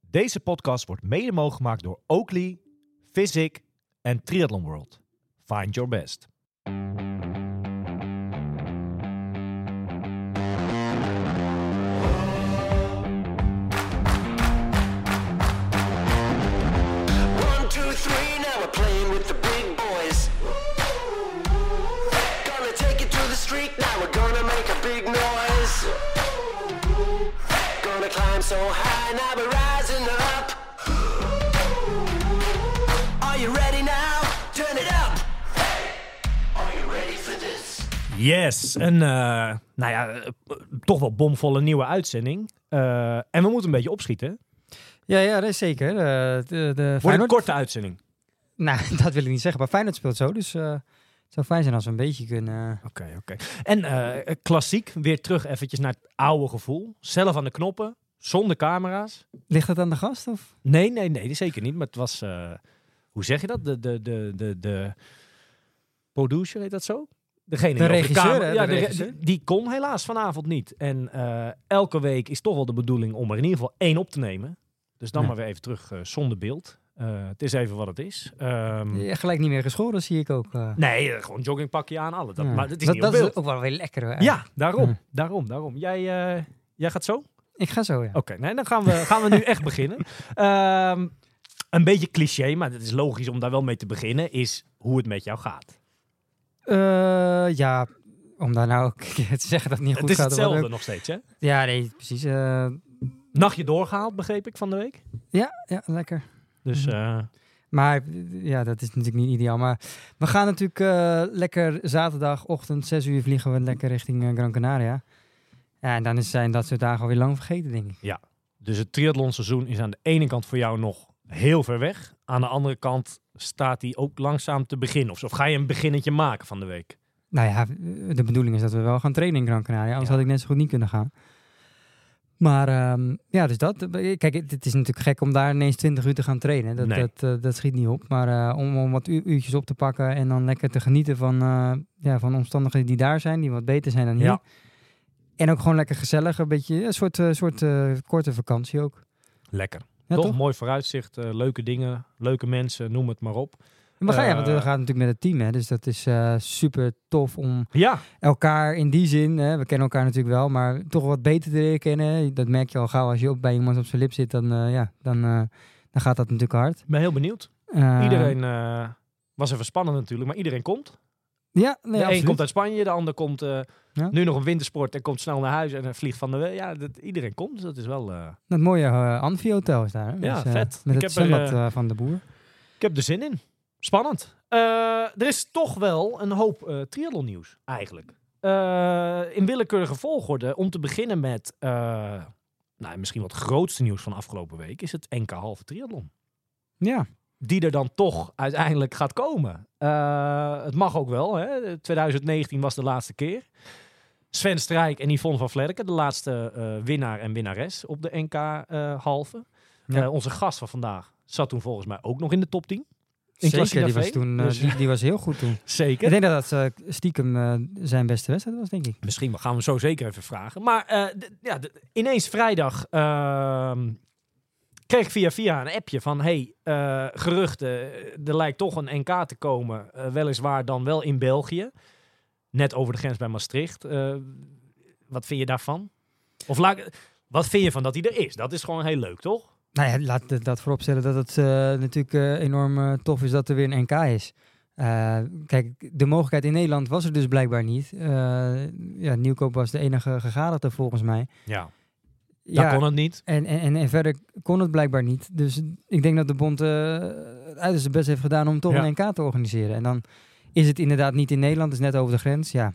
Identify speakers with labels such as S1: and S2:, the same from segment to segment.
S1: Deze podcast wordt mede mogelijk gemaakt door Oakley, Physic en Triathlon World. Find your best.
S2: One, two, three, now we're playing with the big boys. Gonna take it to the street, now we're gonna make a big noise. Gonna climb so high, now we're rising up. Are you ready now? Turn it up. Are you ready for this?
S1: Yes, een eh, nou ja, eh, toch wel bomvolle nieuwe uitzending. Eh, en we moeten een beetje opschieten.
S3: Ja, ja, dat is zeker. Eh, de, de
S1: Wordt een
S3: Feyenoord...
S1: korte uitzending.
S3: Nou, dat wil ik niet zeggen. Maar Feyenoord speelt zo, dus eh, het zou fijn zijn als we een beetje kunnen...
S1: Oké, oké. En eh, klassiek, weer terug eventjes naar het oude gevoel. Zelf aan de knoppen, zonder camera's.
S3: Ligt dat aan de gast? Of?
S1: Nee, nee, nee, zeker niet. Maar het was, eh, hoe zeg je dat? De, de, de, de, de producer, heet dat zo? Degene die over
S3: regisseur,
S1: camera-
S3: hè, de
S1: Ja, re-
S3: regisseur.
S1: die- die kon helaas vanavond niet. En eh, elke week is toch wel de bedoeling om er in ieder geval één op te nemen. Dus dan
S3: Ja.
S1: maar weer even terug eh, zonder beeld. Eh, het is even wat het is. Ehm,
S3: Ja, gelijk niet meer geschoren, zie ik ook. eh.
S1: Nee, eh, gewoon joggingpakje aan, alle. Dat,
S3: Ja.
S1: Maar het is
S3: dat,
S1: niet op
S3: dat
S1: beeld.
S3: is ook wel weer lekker. hoor.
S1: Ja, daarom.
S3: Ja.
S1: Daarom, daarom. Jij, eh, jij gaat zo? Oké,
S3: Ik ga zo, ja.
S1: nee, dan gaan we, gaan we nu echt beginnen. Ehm, een beetje cliché, maar het is logisch om daar wel mee te beginnen, is hoe het met jou gaat.
S3: Eh, ja, om daar nou ook te zeggen dat het niet goed
S1: het is
S3: gaat. dat wordt
S1: hetzelfde nog steeds, hè?
S3: ook- Ja, nee, precies. eh,
S1: Nachtje doorgehaald, begreep ik, van de week.
S3: ja, ja, lekker.
S1: Dus
S3: Mhm.
S1: eh,
S3: Maar ja, dat is natuurlijk niet ideaal. Maar we gaan natuurlijk eh, lekker zaterdagochtend, 6 uur vliegen we lekker richting eh, Gran Canaria. Ja, en dan is, zijn dat soort dagen alweer lang vergeten, denk ik.
S1: Dus het triathlonseizoen is aan de ene kant voor jou nog heel ver weg. Aan de andere kant staat hij ook langzaam te beginnen. Of, zo. of ga je een beginnetje maken van de week?
S3: Nou ja, de bedoeling is dat we wel gaan trainen in Gran Canaria. Anders
S1: Ja.
S3: had ik net zo goed niet kunnen gaan. Maar ehm, ja, dus dat. Kijk, het, het is natuurlijk gek om daar ineens 20 uur te gaan trainen. Dat,
S1: Nee.
S3: dat, eh, dat schiet niet op. Maar eh, om, om wat u- uurtjes op te pakken en dan lekker te genieten van, eh, ja, van omstandigheden die daar zijn, die wat beter zijn dan hier.
S1: Ja.
S3: En ook gewoon lekker gezellig, een beetje een soort, eh, soort eh, korte vakantie ook.
S1: Lekker.
S3: Ja,
S1: toch?
S3: toch?
S1: mooi vooruitzicht, eh, leuke dingen, leuke mensen, noem het maar op.
S3: En we gaan, ja, want we
S1: Eh,
S3: gaan natuurlijk met het team, hè, dus dat is eh, super tof om
S1: Ja,
S3: elkaar in die zin, hè, we kennen elkaar natuurlijk wel, maar toch wat beter te leren kennen. Dat merk je al gauw als je ook bij iemand op zijn lip zit, dan, eh, ja, dan, eh, dan gaat dat natuurlijk hard.
S1: ik ben heel benieuwd.
S3: Eh,
S1: Iedereen eh, was even spannend natuurlijk, maar iedereen komt.
S3: Ja,
S1: De
S3: nee,
S1: een
S3: absoluut.
S1: komt uit Spanje, de ander komt eh,
S3: Ja.
S1: nu nog een wintersport en komt snel naar huis en eh, vliegt van de week. Ja, dat, iedereen komt, dus dat is wel... eh,
S3: Dat mooie eh Anfi-hotel is daar. Hè?
S1: Ja,
S3: Dus, eh,
S1: vet.
S3: Met
S1: Ik
S3: het
S1: heb er,
S3: zwembad eh, van de boer.
S1: Ik heb er zin in. Spannend. Eh, er is toch wel een hoop eh triathlon nieuws eigenlijk. Eh, in willekeurige volgorde. Om te beginnen met eh, nou, misschien wat grootste nieuws van afgelopen week. Is het NK halve triathlon.
S3: Ja,
S1: Die er dan toch uiteindelijk gaat komen. Eh, het mag ook wel. Hè? 2019 was de laatste keer. Sven Strijk en Yvonne van Vlerken. De laatste eh, winnaar en winnares op de NK eh, halve.
S3: Ja.
S1: Eh, onze gast van vandaag zat toen volgens mij ook nog in de top 10. In
S3: zeker.
S1: Klassica
S3: Die was,
S1: V.
S3: toen, eh,
S1: Dus-
S3: die, die was heel goed toen. Ik
S1: Zeker.
S3: denk dat dat eh, stiekem eh, zijn beste wedstrijd was, denk ik.
S1: Misschien wel, gaan we hem zo zeker even vragen. Maar eh, d- ja, d- ineens vrijdag ehm, kreeg ik via via een appje van... hey, eh, geruchten, eh, er lijkt toch een NK te komen. Eh, weliswaar dan wel in België. Net over de grens bij Maastricht. Eh, wat vind je daarvan? Of laat ik- wat vind je van dat hij er is? Dat is gewoon heel leuk, toch?
S3: Nou ja, laat dat- dat vooropstellen dat het eh, natuurlijk eh, enorm eh, tof is dat er weer een NK is. Eh, kijk, de mogelijkheid in Nederland was er dus blijkbaar niet. Eh, ja, Nieuwkoop was de enige gegadigde volgens mij.
S1: Ja,
S3: ja,
S1: dat kon het niet.
S3: En, en, en, en verder kon het blijkbaar niet. Dus ik denk dat de bond eh, het uiterste best heeft gedaan om toch
S1: Ja.
S3: een NK te organiseren. En dan is het inderdaad niet in Nederland, het is net over de grens. Ja,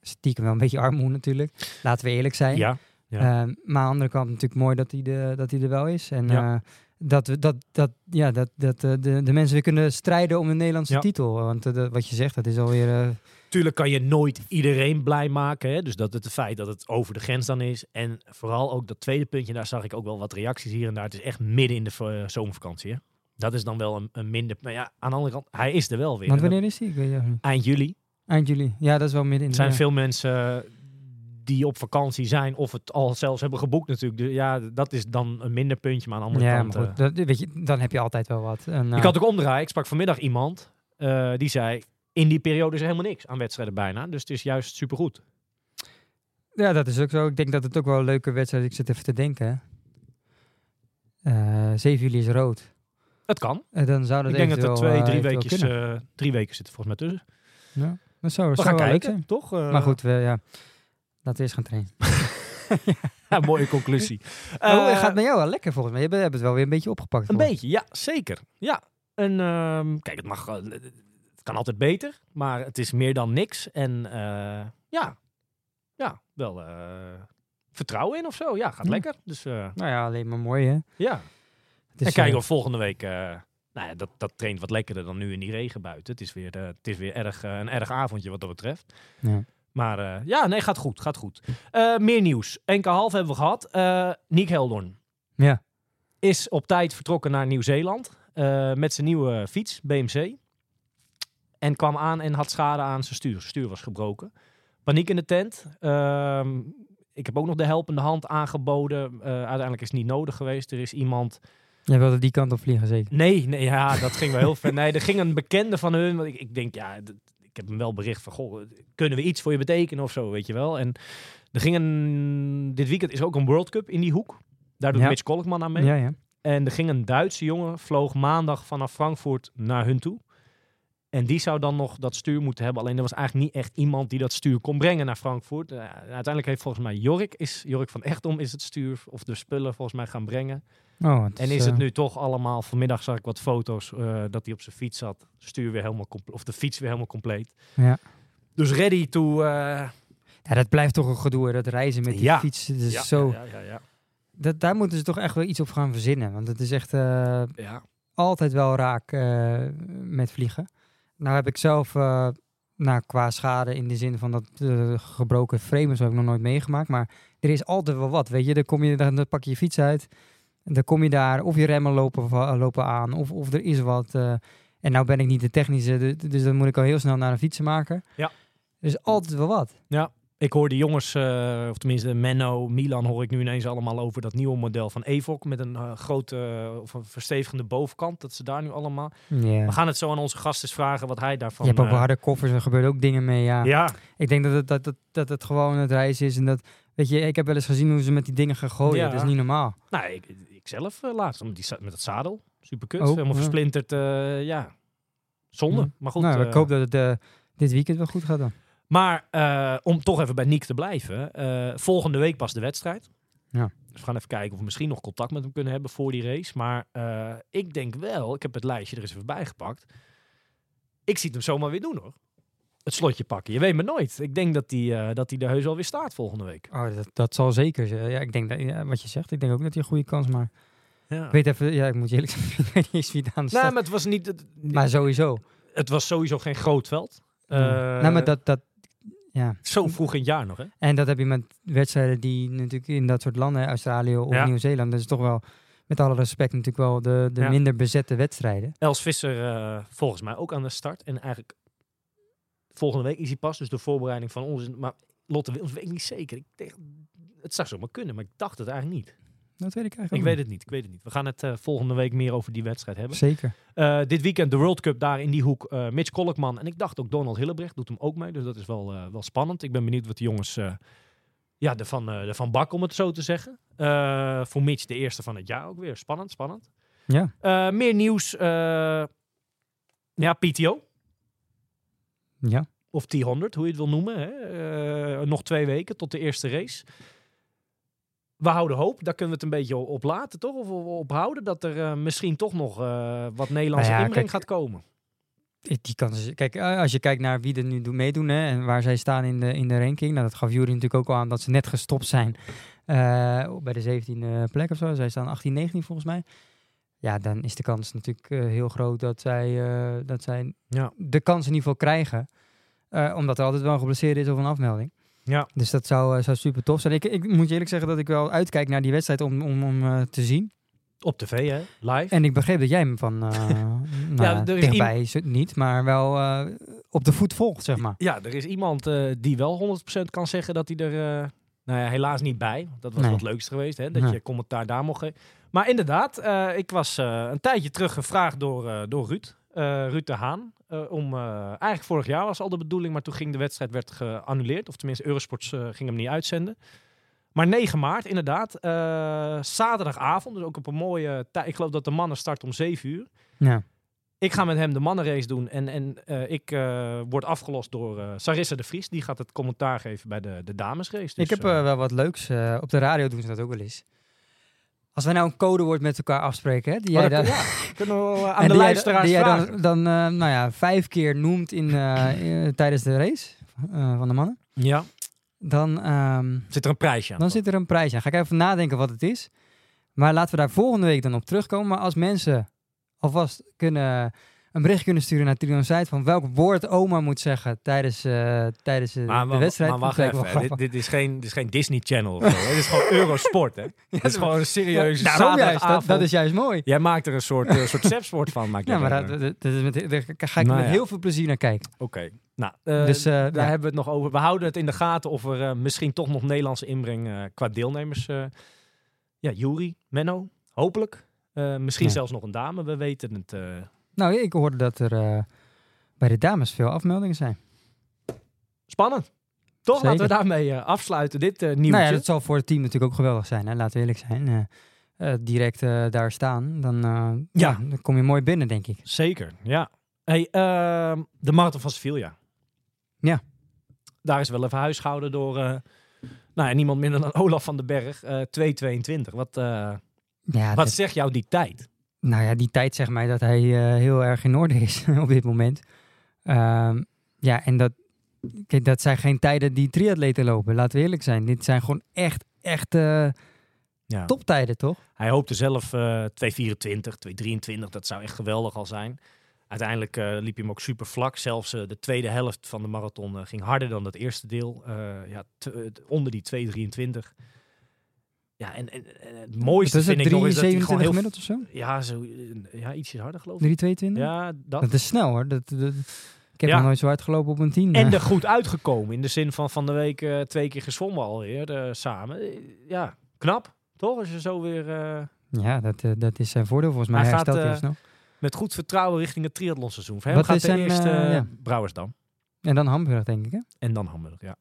S3: stiekem wel een beetje armoede natuurlijk. Laten we eerlijk zijn.
S1: Ja,
S3: Ehm, maar aan de andere kant natuurlijk mooi dat hij, de, dat hij er wel is. En
S1: Ja.
S3: eh, dat, we, dat, dat, ja, dat, dat eh, de, de mensen weer kunnen strijden om de Nederlandse
S1: Ja.
S3: titel. Want eh, dat- wat je zegt, dat is alweer... eh,
S1: Tuurlijk kan je nooit iedereen blij maken. Hè? Dus dat het, het feit dat het over de grens dan is. En vooral ook dat tweede puntje, daar zag ik ook wel wat reacties hier en daar. Het is echt midden in de eh, zomervakantie. Hè? Dat is dan wel een, een minder. Maar ja, aan de andere kant, hij is er wel weer.
S3: want
S1: En
S3: wanneer is die? Ik weet het eigenlijk niet.
S1: dat- Eind juli
S3: Eind juli. Ja, dat is wel midden in de...
S1: zijn
S3: ja.
S1: veel mensen eh, die op vakantie zijn of het al zelfs hebben geboekt natuurlijk. Dus ja, dat is dan een minder puntje, maar aan de andere
S3: ja,
S1: kant...
S3: maar goed,
S1: eh,
S3: dat, weet je, dan heb je altijd wel wat. En, eh,
S1: Ik had ook omdraaien. Ik sprak vanmiddag iemand eh, die zei... In die periode is er helemaal niks aan wedstrijden bijna. Dus het is juist supergoed.
S3: Ja, dat is ook zo. Ik denk dat het ook wel een leuke wedstrijd is. Ik zit even te denken. Eh 7 juli is rood.
S1: Het kan.
S3: Eh, dan zou dat
S1: Ik denk dat er
S3: eventueel,
S1: twee,
S3: eh,
S1: drie,
S3: eventueel
S1: weekjes,
S3: kunnen.
S1: eh, drie weken zitten volgens mij tussen.
S3: Ja. Dat zou,
S1: We
S3: zou
S1: gaan
S3: wel leuk
S1: kijken,
S3: zijn.
S1: toch? Eh,
S3: Maar goed, we, ja. laten we eerst gaan trainen.
S1: ja, mooie conclusie.
S3: oh, het
S1: Eh,
S3: gaat met jou wel lekker volgens mij. Je hebt het wel weer een beetje opgepakt.
S1: Een
S3: volgens
S1: beetje, ja, zeker. Ja. En ehm, kijk, het mag. eh, het kan altijd beter, maar het is meer dan niks. En eh, ja, ja, wel eh, vertrouwen in of zo. Ja, gaat
S3: Ja.
S1: lekker. Dus eh,
S3: Nou ja, alleen maar mooi hè.
S1: ja.
S3: Het is,
S1: en kijken
S3: eh,
S1: of volgende week. eh, nou ja, dat, dat traint wat lekkerder dan nu in die regen buiten. Het is weer, eh, het is weer erg, eh, een erg avondje wat dat betreft.
S3: Ja.
S1: Maar eh, ja, nee, gaat goed. Gaat goed. Eh, meer nieuws. NK half hebben we gehad. Eh Nick Heldorn.
S3: Ja.
S1: is op tijd vertrokken naar Nieuw-Zeeland eh, met zijn nieuwe fiets, BMC. En kwam aan en had schade aan zijn stuur. Zijn stuur was gebroken. Paniek in de tent. Ehm, ik heb ook nog de helpende hand aangeboden. Eh, uiteindelijk is het niet nodig geweest. Er is iemand...
S3: Jij wilde die kant op vliegen zeker?
S1: Nee, nee ja, dat ging wel heel ver. Nee, er ging een bekende van hun. Want ik, ik denk, ja, dat- ik heb hem wel bericht van... Goh, kunnen we iets voor je betekenen of zo, weet je wel. En er ging een... Dit weekend is ook een World Cup in die hoek. Daar doet
S3: Ja.
S1: Mitch Kolkman aan mee.
S3: Ja, ja.
S1: En er ging een Duitse jongen, vloog maandag vanaf Frankfurt naar hun toe. En die zou dan nog dat stuur moeten hebben. Alleen er was eigenlijk niet echt iemand die dat stuur kon brengen naar Frankfurt. Eh, uiteindelijk heeft volgens mij Jorik, is, Jorik van Echtom is het stuur of de spullen volgens mij gaan brengen.
S3: Oh, het
S1: en is het
S3: eh,
S1: nu toch allemaal, vanmiddag zag ik wat foto's eh, dat hij op zijn fiets zat. Stuur weer helemaal comple- of de fiets weer helemaal compleet.
S3: Ja.
S1: Dus ready to... eh,
S3: Ja, dat blijft toch een gedoe hè, dat reizen met die
S1: Ja.
S3: fiets. Dat is
S1: ja,
S3: zo,
S1: Ja, ja, ja,
S3: Dat, daar moeten ze toch echt wel iets op gaan verzinnen. Want het is echt... eh,
S1: ja.
S3: altijd wel raak eh, met vliegen. Nou heb ik zelf, eh, nou, qua schade in de zin van dat eh, gebroken frame, zo heb ik nog nooit meegemaakt. Maar er is altijd wel wat, weet je. Dan, kom je, dan dan pak je je fiets uit, dan kom je daar, of je remmen lopen, va- lopen aan, of, of er is wat. eh. en nou ben ik niet de technische, du- dus dan moet ik al heel snel naar een fietsenmaker.
S1: Ja.
S3: Er is altijd wel wat.
S1: Ik hoor de jongens, eh, of tenminste Menno, Milan hoor ik nu ineens allemaal over dat nieuwe model van Evok. Met een eh, grote, eh, of een verstevigende bovenkant. Dat ze daar nu allemaal...
S3: Ja.
S1: We gaan het zo aan onze gast eens vragen wat hij daarvan...
S3: Je hebt ook wel
S1: eh,
S3: harde koffers, er gebeuren ook dingen mee, ja.
S1: ja,
S3: Ik denk dat het, dat, dat, dat het gewoon het reizen is. En dat, weet je, ik heb wel eens gezien hoe ze met die dingen gaan gooien.
S1: Ja.
S3: Dat is niet normaal.
S1: nou, ik, ik zelf eh, laatst met, die, za- met dat zadel. Super kut.
S3: Oh,
S1: helemaal
S3: ja.
S1: versplinterd. eh, ja, zonde.
S3: Ja.
S1: Maar goed.
S3: nou,
S1: eh,
S3: ik hoop dat het eh, dit weekend wel goed gaat dan.
S1: Maar eh, om toch even bij Nick te blijven. eh, volgende week pas de wedstrijd.
S3: Ja.
S1: Dus we gaan even kijken of we misschien nog contact met hem kunnen hebben voor die race. Maar eh, ik denk wel, ik heb het lijstje er eens even bij gepakt. Ik zie het hem zomaar weer doen hoor. Het slotje pakken. Je weet maar nooit. Ik denk dat hij eh, dat hij er heus alweer staat volgende week.
S3: Oh, dat, dat zal zeker. zijn. Ja, ik denk dat, ja, wat je zegt, ik denk ook dat hij een goede kans maakt.
S1: Ja.
S3: Ik weet even, ja, ik moet je eerlijk zeggen, ik weet niet eens wie daar aan de
S1: Nee,
S3: start-
S1: Nou, maar het was niet. Het,
S3: Maar sowieso.
S1: het was sowieso geen groot veld. Eh,
S3: nou, maar dat, dat, ja.
S1: Zo vroeg in het jaar nog, hè?
S3: En dat heb je met wedstrijden die natuurlijk in dat soort landen, Australië of
S1: Ja.
S3: Nieuw-Zeeland, dat is toch wel, met alle respect, natuurlijk wel de, de
S1: Ja.
S3: minder bezette wedstrijden.
S1: Els Visser eh, volgens mij ook aan de start. En eigenlijk volgende week is hij pas. Dus de voorbereiding van ons. is- Maar Lotte Willems weet ik niet zeker. Ik denk, het zou zomaar kunnen, maar ik dacht het eigenlijk niet.
S3: Dat weet ik eigenlijk
S1: Ik
S3: ook
S1: weet het niet, ik weet het niet. We gaan het eh, volgende week meer over die wedstrijd hebben.
S3: niet. Zeker.
S1: Eh, dit weekend de World Cup daar in die hoek. eh, Mitch Kolkman en ik dacht ook Donald Hillebrecht doet hem ook mee. Dus dat is wel, eh, wel spannend. Ik ben benieuwd wat de jongens eh ja, ervan, eh ervan bakken, om het zo te zeggen. Eh, voor Mitch de eerste van het jaar ook weer. Spannend, spannend.
S3: Ja.
S1: Eh, meer nieuws. eh, ja, PTO.
S3: Ja.
S1: Of T100, hoe je het wil noemen. Hè? Eh, nog twee weken tot de eerste race. We houden hoop, daar kunnen we het een beetje op laten, toch? Of op- op houden dat er eh, misschien toch nog eh, wat Nederlandse
S3: Nou ja,
S1: inbreng
S3: kijk,
S1: gaat komen.
S3: Die- Die kans is, kijk, eh, als je kijkt naar wie er nu doen- meedoen hè, en waar zij staan in de, in de ranking. Nou, dat gaf Jury natuurlijk ook al aan dat ze net gestopt zijn eh, bij de 17e plek of zo. Zij staan 18, 19 volgens mij. Ja, dan is de kans natuurlijk eh, heel groot dat zij, eh, dat zij
S1: Ja.
S3: de kans in ieder geval krijgen. Eh, omdat er altijd wel een geblesseerde is of een afmelding.
S1: Ja.
S3: Dus dat zou, eh, zou super tof zijn. Ik, ik moet je eerlijk zeggen dat ik wel uitkijk naar die wedstrijd om, om, om eh, te zien.
S1: Op tv, hè? Live.
S3: En ik begreep dat jij hem van eh nou,
S1: er is
S3: dichtbij is het niet, maar wel eh, op de voet volgt, zeg maar.
S1: Ja, er is iemand eh, die wel 100% kan zeggen dat hij er eh, nou ja, helaas niet bij. want Dat was
S3: Nee.
S1: wat leukst geweest, hè, dat
S3: Ja.
S1: je commentaar daar mocht geven. Maar inderdaad, eh, ik was eh, een tijdje terug gevraagd door, eh, door Ruud, eh, Ruud de Haan. eh, om, eh, eigenlijk vorig jaar was al de bedoeling, maar toen ging de wedstrijd werd geannuleerd. Of tenminste, Eurosports eh, ging hem niet uitzenden. Maar 9 maart, inderdaad. eh, zaterdagavond, dus ook op een mooie tijd. Ik geloof dat de mannen start om 7 uur
S3: Ja.
S1: ik ga met hem de mannenrace doen. En, en eh, ik eh, word afgelost door eh, Sarissa de Vries. Die gaat het commentaar geven bij de, de damesrace. Dus,
S3: ik heb
S1: eh,
S3: eh, wel wat leuks. eh, op de radio doen ze dat ook wel eens. Als wij nou een codewoord met elkaar afspreken, hè, die jij
S1: maar
S3: dan,
S1: Oh, dat- ja, kunnen we wel, eh, aan
S3: en
S1: de
S3: die jij-
S1: luisteraars
S3: die jij
S1: vragen.
S3: dan, dan eh, nou ja, vijf keer noemt in, eh, eh, tijdens de race eh, van de mannen,
S1: Ja,
S3: dan, ehm,
S1: zit er een prijsje aan.
S3: dan zit er een prijs aan. Ga ik even nadenken wat het is. Maar laten we daar volgende week dan op terugkomen. Maar als mensen alvast kunnen, een bericht kunnen sturen naar Trion Site van welk woord oma moet zeggen tijdens, eh, tijdens eh,
S1: maar,
S3: de wedstrijd.
S1: maar wacht
S3: Dat lijkt me
S1: even,
S3: wel
S1: hè. dit,
S3: grappig.
S1: dit, is geen, dit is geen Disney Channel of zo. hè. Dit is gewoon Eurosport, hè? Dit is gewoon een serieuze
S3: Daarom juist, dat,
S1: zaterdagavond.
S3: dat is juist mooi.
S1: Jij maakt er een soort, eh, soort sepsport van. Maak jij
S3: Ja, maar
S1: er,
S3: dat,
S1: eh.
S3: dat- dat is met, daar ga ik
S1: Nou
S3: met
S1: ja.
S3: heel veel plezier naar kijken.
S1: Oké. Nou, eh,
S3: dus eh,
S1: Daar
S3: ja.
S1: hebben we het nog over. We houden het in de gaten of er eh, misschien toch nog Nederlandse inbreng eh, qua deelnemers. eh, ja, Juri, Menno, hopelijk. Eh, misschien
S3: Ja.
S1: zelfs nog een dame, we weten het. eh.
S3: Nou, ik hoorde dat er eh, bij de dames veel afmeldingen zijn.
S1: spannend. Toch laten we
S3: Zeker.
S1: daarmee eh, afsluiten, dit eh nieuwtje.
S3: Nou ja, dat zal voor het team natuurlijk ook geweldig zijn. Hè? Laten we eerlijk zijn. Eh, eh, direct eh, daar staan, dan, eh,
S1: Ja.
S3: ja, dan kom je mooi binnen, denk ik.
S1: Zeker, ja. Hey, ehm, de Marathon van Sevilla.
S3: Ja.
S1: Daar is wel even huisgehouden door eh, nou, ja, niemand minder dan Olaf van den Berg. eh 2.22. Wat, eh,
S3: Ja,
S1: wat
S3: dat-
S1: zegt jou die tijd?
S3: nou ja, die tijd zegt mij dat hij eh, heel erg in orde is op dit moment. Ehm, ja, en dat, kijk, dat zijn geen tijden die triatleten lopen. Laten we eerlijk zijn. Dit zijn gewoon echt, echt eh,
S1: Ja.
S3: toptijden, toch?
S1: Hij hoopte zelf eh 224, 223, dat zou echt geweldig al zijn. Uiteindelijk eh, liep hij hem ook super vlak. Zelfs eh, de tweede helft van de marathon eh, ging harder dan dat eerste deel. Eh, ja, t- eh, onder die 223. Ja, en, en, en het mooiste
S3: Wat is
S1: vind ik nog is dat hij gewoon
S3: 3,27
S1: heel...
S3: gemiddeld of zo?
S1: Ja, zo, eh, ja, ietsjes harder geloof ik.
S3: 3,22?
S1: Ja, dat.
S3: Dat is snel hoor. Dat, dat- ik heb
S1: Ja.
S3: nog nooit zo hard gelopen op een 10.
S1: En er goed uitgekomen. In de zin van van de week eh, twee keer gezwommen alweer eh, samen. Eh, Ja, knap. Toch? Als je zo weer... eh,
S3: Ja, dat, eh, dat is zijn voordeel volgens mij.
S1: Hij
S3: Hij,
S1: gaat,
S3: herstelt heel
S1: eh,
S3: snel.
S1: Met goed vertrouwen richting het triathlonseizoen. Voor hem
S3: Wat
S1: gaat
S3: is
S1: de
S3: zijn,
S1: eerste
S3: eh, ja.
S1: Brouwersdam
S3: En dan Hamburg, denk ik. Hè?
S1: en dan Hamburg, ja.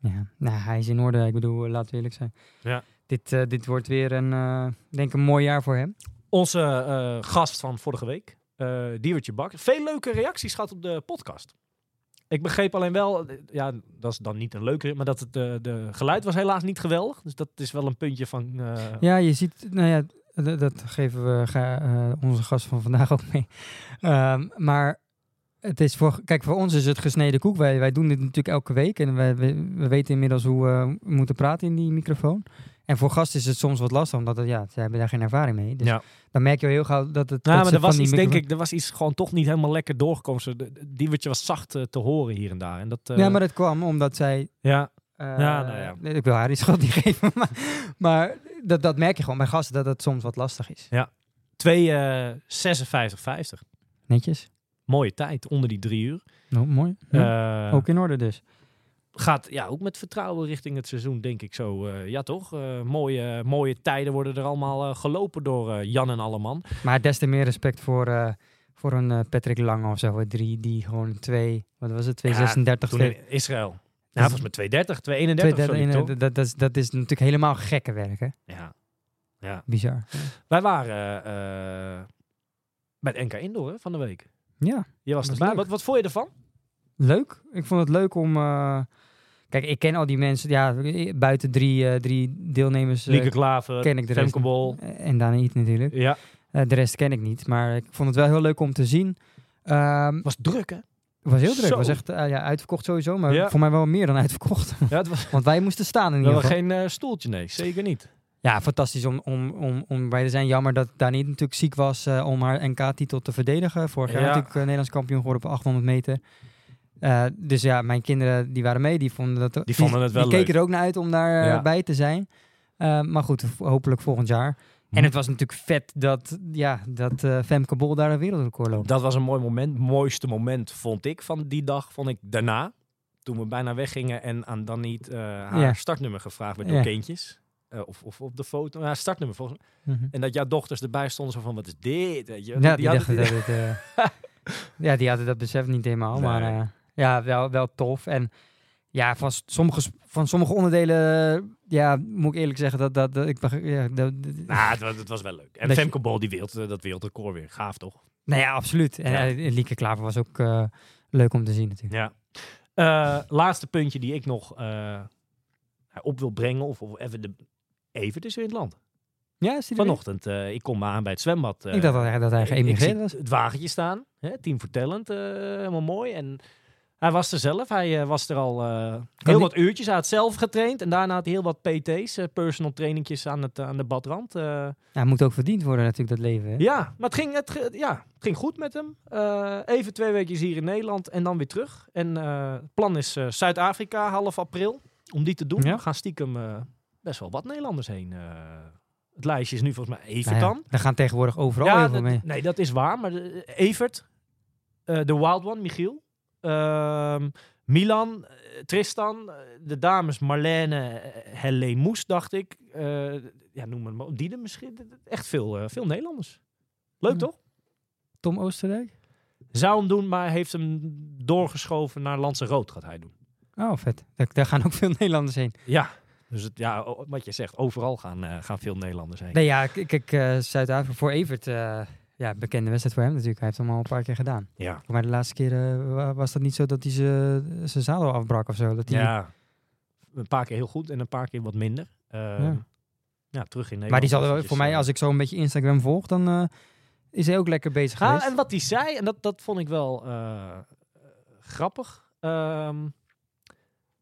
S3: Ja, nou, hij is in orde. Ik bedoel, eh, laten we eerlijk zijn.
S1: Ja.
S3: Dit, eh, dit wordt weer een, eh, denk ik een mooi jaar voor hem.
S1: Onze eh, gast van vorige week, eh Diewertje Bak. Veel leuke reacties gehad op de podcast. Ik begreep alleen wel, eh, ja, dat is dan niet een leuke, maar dat het eh, de geluid was helaas niet geweldig. Dus dat is wel een puntje van. eh,
S3: Ja, je ziet, nou ja, d- dat geven we ga- eh, onze gast van vandaag ook mee. Ehm, maar het is voor, kijk, voor ons is het gesneden koek. Wij, wij doen dit natuurlijk elke week en wij, we, we weten inmiddels hoe eh, we moeten praten in die microfoon. En voor gast is het soms wat lastig, omdat het, ja, ze hebben daar geen ervaring mee. Dus
S1: Ja.
S3: dan merk je heel gauw dat het.
S1: Nou,
S3: dat
S1: maar
S3: ze
S1: er was
S3: van die
S1: iets, denk
S3: microfoon-
S1: ik, er was iets gewoon toch niet helemaal lekker doorgekomen. Zo, de- de- Diewertje was zacht eh, te horen hier en daar. En dat, eh,
S3: Ja, maar dat kwam omdat zij
S1: ja,
S3: Eh,
S1: Ja, nou ja.
S3: nee, Ik wil haar die schuld niet geven. Maar, maar dat, dat merk je gewoon bij gasten dat dat soms wat lastig is.
S1: 2, eh, 56,50.
S3: Netjes.
S1: Mooie tijd, onder die drie uur.
S3: Nou, mooi.
S1: Eh,
S3: Ook in orde dus.
S1: gaat ja, ook met vertrouwen richting het seizoen, denk ik zo. Eh, ja, toch? Eh, mooie, mooie tijden worden er allemaal eh, gelopen door eh, Jan en Alleman.
S3: Maar des te meer respect voor, eh, voor een eh, Patrick Lange of zo. hè, Drie, die gewoon twee, wat was het? 2,36.
S1: Ja,
S3: 36,
S1: Toen
S3: twee-
S1: in Israël. Ja, volgens mij 230, 231
S3: twee-
S1: sorry,
S3: dat-
S1: toch?
S3: dat, dat, is, dat is natuurlijk helemaal gekke werk, hè?
S1: Ja. ja.
S3: Bizar.
S1: Wij waren eh, eh, bij het NK Indoor hè, van de week.
S3: Ja,
S1: Je was
S3: Was
S1: erbij.
S3: leuk.
S1: Wat, wat vond je ervan?
S3: leuk. Ik vond het leuk om... eh, kijk, ik ken al die mensen. Ja, eh, buiten drie, eh, drie deelnemers eh,
S1: Lieke Klaver,
S3: ken ik de rest.
S1: Femke Bol.
S3: Eh, En Daan Eat natuurlijk.
S1: Ja,
S3: Eh, de rest ken ik niet, maar ik vond het wel heel leuk om te zien. Ehm,
S1: was druk hè?
S3: het was heel druk.
S1: Zo.
S3: Het was echt eh, ja, uitverkocht sowieso, maar
S1: Ja.
S3: voor mij wel meer dan uitverkocht.
S1: Ja, het was
S3: Want wij moesten staan in ieder
S1: wel
S3: geval.
S1: geen eh, stoeltje, nee. Zeker niet.
S3: Ja, fantastisch om, om, om, om bij te zijn. Jammer dat Dani natuurlijk ziek was eh, om haar NK-titel te verdedigen. Vorig jaar
S1: Ja.
S3: natuurlijk eh, Nederlands kampioen geworden op 800 meter. Eh, dus ja, mijn kinderen die waren mee, die vonden dat die,
S1: vonden het wel
S3: die keken er ook naar uit om daar eh,
S1: Ja.
S3: bij te zijn. Eh, maar goed, v- hopelijk volgend jaar.
S1: Mhm.
S3: En het was natuurlijk vet dat, ja, dat eh, Femke Bol daar een wereldrecord loopt.
S1: Dat was een mooi moment. Mooiste moment vond ik van die dag. Vond ik daarna. Toen we bijna weggingen en aan dan niet eh, haar
S3: Ja.
S1: startnummer gevraagd werd door
S3: Ja.
S1: kindjes. Eh, of, of op de foto. Haar startnummer volgens mij.
S3: Mhm.
S1: En dat jouw dochters erbij stonden zo van wat is dit? Weet je?
S3: Ja, die,
S1: hadden-
S3: dachten dat het... eh, ja, die hadden dat besef niet helemaal.
S1: Nee.
S3: Maar eh, ja, wel, wel tof. En ja, van s- sommige, s- van sommige onderdelen... eh, Ja, moet ik eerlijk zeggen dat... dat, dat ik, beg- ja, dat, dat-
S1: Nou, het, was- het was wel leuk. En
S3: Dat je-
S1: Femke Bol, die wereld, eh, dat wereldrecord weer. Gaaf toch?
S3: nou ja, absoluut. En
S1: Ja.
S3: eh, Lieke Klaver was ook eh, leuk om te zien natuurlijk.
S1: Ja. Eh, laatste puntje die ik nog eh, op wil brengen. Of, of even de... Evert is weer in het land.
S3: Ja, is die er weer?
S1: Vanochtend, eh, ik kom maar aan bij het zwembad. eh,
S3: ik dacht dat hij, dat hij
S1: Ik- ik
S3: geëmigreerd
S1: zie
S3: was.
S1: Het wagentje staan. Hè? Team voor Talent. eh, helemaal mooi. En hij was er zelf. Hij eh, was er al eh, heel
S3: die-
S1: wat uurtjes. Hij had zelf getraind. En daarna had hij heel wat PT's. eh, personal trainingjes aan, het, eh, aan de badrand. eh.
S3: Hij moet ook verdiend worden natuurlijk, dat leven. Hè?
S1: ja, maar het ging, het, ge- ja, het ging goed met hem. Eh, even twee weekjes hier in Nederland. En dan weer terug. En eh, het plan is eh, Zuid-Afrika half april. Om die te doen.
S3: Ja.
S1: We gaan stiekem eh, best wel wat Nederlanders heen. eh. het lijstje is nu volgens mij even
S3: Nou ja,
S1: kan.
S3: daar gaan tegenwoordig overal
S1: Ja,
S3: heel veel
S1: dat-
S3: mee.
S1: nee, dat is waar. Maar de- Evert, eh, de Wild One, Michiel, ehm, Milan, eh, Tristan, eh, de dames Marlene, eh, Helle Moes, dacht ik. Eh, ja, noem het maar op. Dieden misschien. Echt veel, eh, veel Nederlanders. Leuk
S3: Ja.
S1: toch?
S3: Tom Oosterwijk?
S1: Zou hem doen, maar heeft hem doorgeschoven naar Landse Rood, gaat hij doen.
S3: Oh, vet. Daar, daar gaan ook veel Nederlanders heen.
S1: Ja, dus het, ja, o- wat je zegt, overal gaan, eh, gaan veel Nederlanders heen.
S3: Nee, ja, k- kijk, eh, Zuid-Afrika voor Evert. eh, ja, bekende wedstrijd voor hem natuurlijk. Hij heeft hem al een paar keer gedaan.
S1: Ja.
S3: Maar de laatste keer eh, wa- was dat niet zo dat hij ze- zijn zadel afbrak of zo. Dat hij,
S1: ja, een paar keer heel goed en een paar keer wat minder. Ehm, ja.
S3: Ja.
S1: terug in Nederland.
S3: maar die zal wel-
S1: eventjes,
S3: voor mij,
S1: eh,
S3: als ik zo een beetje Instagram volg, dan eh, is hij ook lekker bezig
S1: Ja,
S3: geweest.
S1: en wat hij zei, en dat, dat vond ik wel eh, grappig. Ehm,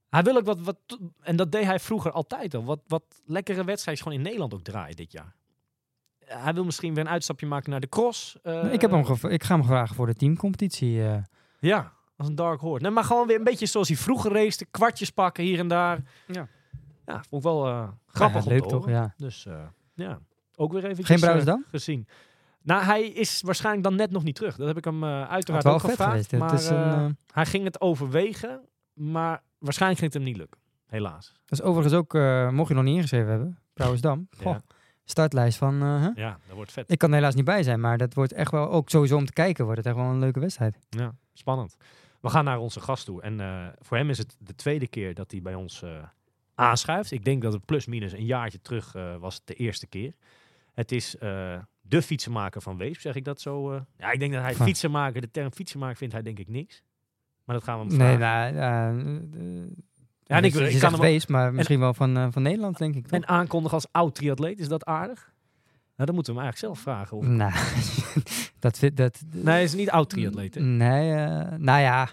S1: hij wil ook wat, wat, en dat deed hij vroeger altijd al, wat, wat lekkere wedstrijden gewoon in Nederland ook draaien dit jaar. Hij wil misschien weer een uitstapje maken naar de cross. eh,
S3: ik, heb hem gev- ik ga hem vragen voor de teamcompetitie. eh.
S1: Ja, als een dark horse. Nee, maar gewoon weer een beetje zoals hij vroeger race, kwartjes pakken hier en daar.
S3: Ja.
S1: Ja, vond ik wel eh, grappig
S3: Ja,
S1: om
S3: leuk
S1: te
S3: toch?
S1: horen.
S3: Ja.
S1: Dus eh, ja, ook weer even
S3: Geen Brouwers dan?
S1: gezien. Nou, hij is waarschijnlijk dan net nog niet terug. Dat heb ik hem eh,
S3: Had
S1: uiteraard
S3: wel
S1: ook
S3: vet
S1: gevraagd.
S3: geweest. hè.
S1: maar,
S3: het is een,
S1: eh,
S3: eh,
S1: hij ging het overwegen, maar waarschijnlijk ging het hem niet lukken. Helaas.
S3: dat is overigens ook, eh, mocht je nog niet ingeschreven hebben, Brouwersdam. Goh,
S1: Ja.
S3: Startlijst van... eh, hè?
S1: Ja, dat wordt vet.
S3: Ik kan er helaas niet bij zijn, maar dat wordt echt wel, ook sowieso om te kijken, wordt het echt wel een leuke wedstrijd.
S1: Ja, spannend. We gaan naar onze gast toe. En eh, voor hem is het de tweede keer dat hij bij ons eh, aanschuift. Ik denk dat het plus-minus een jaartje terug eh, was de eerste keer. Het is eh, de fietsenmaker van Weesp, zeg ik dat zo. eh? Ja, ik denk dat hij
S3: Van-
S1: fietsenmaker, de term fietsenmaker vindt hij denk ik niks. Maar dat gaan we hem vragen.
S3: Nee, nou, ja, dus
S1: Ja, en ik, ik kan hem
S3: wees, maar misschien wel van, eh, van Nederland, denk ik.
S1: En aankondigen als oud triatleet, is dat aardig? Nou, dan moeten we hem eigenlijk zelf vragen. Of...
S3: toch? Nou, dat vind dat.
S1: Nee, hij is niet oud triatleet. hè?
S3: Nee, eh, nou ja.
S1: Ja,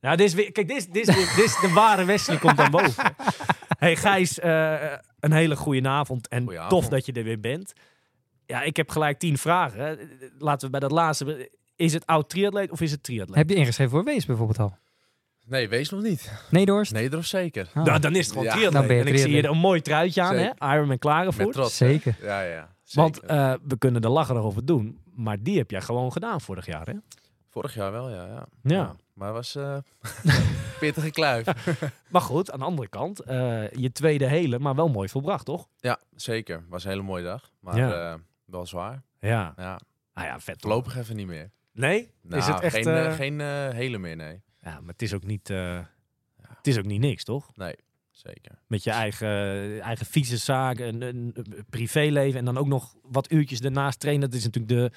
S1: Nou, dit is weer, kijk, dit is, dit, is, weer- dit is de ware Wesley komt dan boven. hey Gijs, eh, een hele goede avond en
S2: Goeie
S1: tof
S2: avond.
S1: dat je er weer bent. Ja, ik heb gelijk tien vragen. hè. Laten we bij dat laatste. be- Is het oud triatleet of is het triatleet?
S3: Heb je ingeschreven voor Wees bijvoorbeeld al?
S4: Nee, wees nog niet.
S3: Nee, Doorst?
S4: Nee, dat zeker.
S3: Ah,
S1: Nou, dan is het gewoon
S4: Ja, dan
S1: triatleet.
S3: ben je
S1: En ik zie hier
S3: triatleet.
S1: een mooi truitje aan, hè? Ironman
S4: Met
S1: Klagenvoort.
S4: trots. hè?
S3: zeker.
S4: Ja, ja. zeker.
S1: Want eh, we kunnen er lacherig over doen, maar die heb jij gewoon gedaan vorig jaar, hè?
S4: Vorig jaar wel, ja. Ja.
S1: Ja.
S4: Maar was eh pittige kluif.
S1: Maar goed, aan de andere kant, eh, je tweede hele, maar wel mooi volbracht, toch?
S4: ja, zeker. Was een hele mooie dag. Maar
S1: Ja.
S4: eh, wel zwaar.
S1: Ja.
S4: Ja,
S1: Nou ja, vet. toch?
S4: voorlopig even niet meer.
S1: Nee?
S4: Nou,
S1: is het echt...
S4: geen,
S1: eh,
S4: eh, geen eh, hele meer, nee.
S1: Ja, maar het is ook niet... eh, Het is ook niet niks, toch?
S4: Zeker.
S1: Met je eigen, eh, eigen fietsenzaak, een, een, een eh, privéleven en dan ook nog wat uurtjes daarnaast trainen. Dat is natuurlijk de...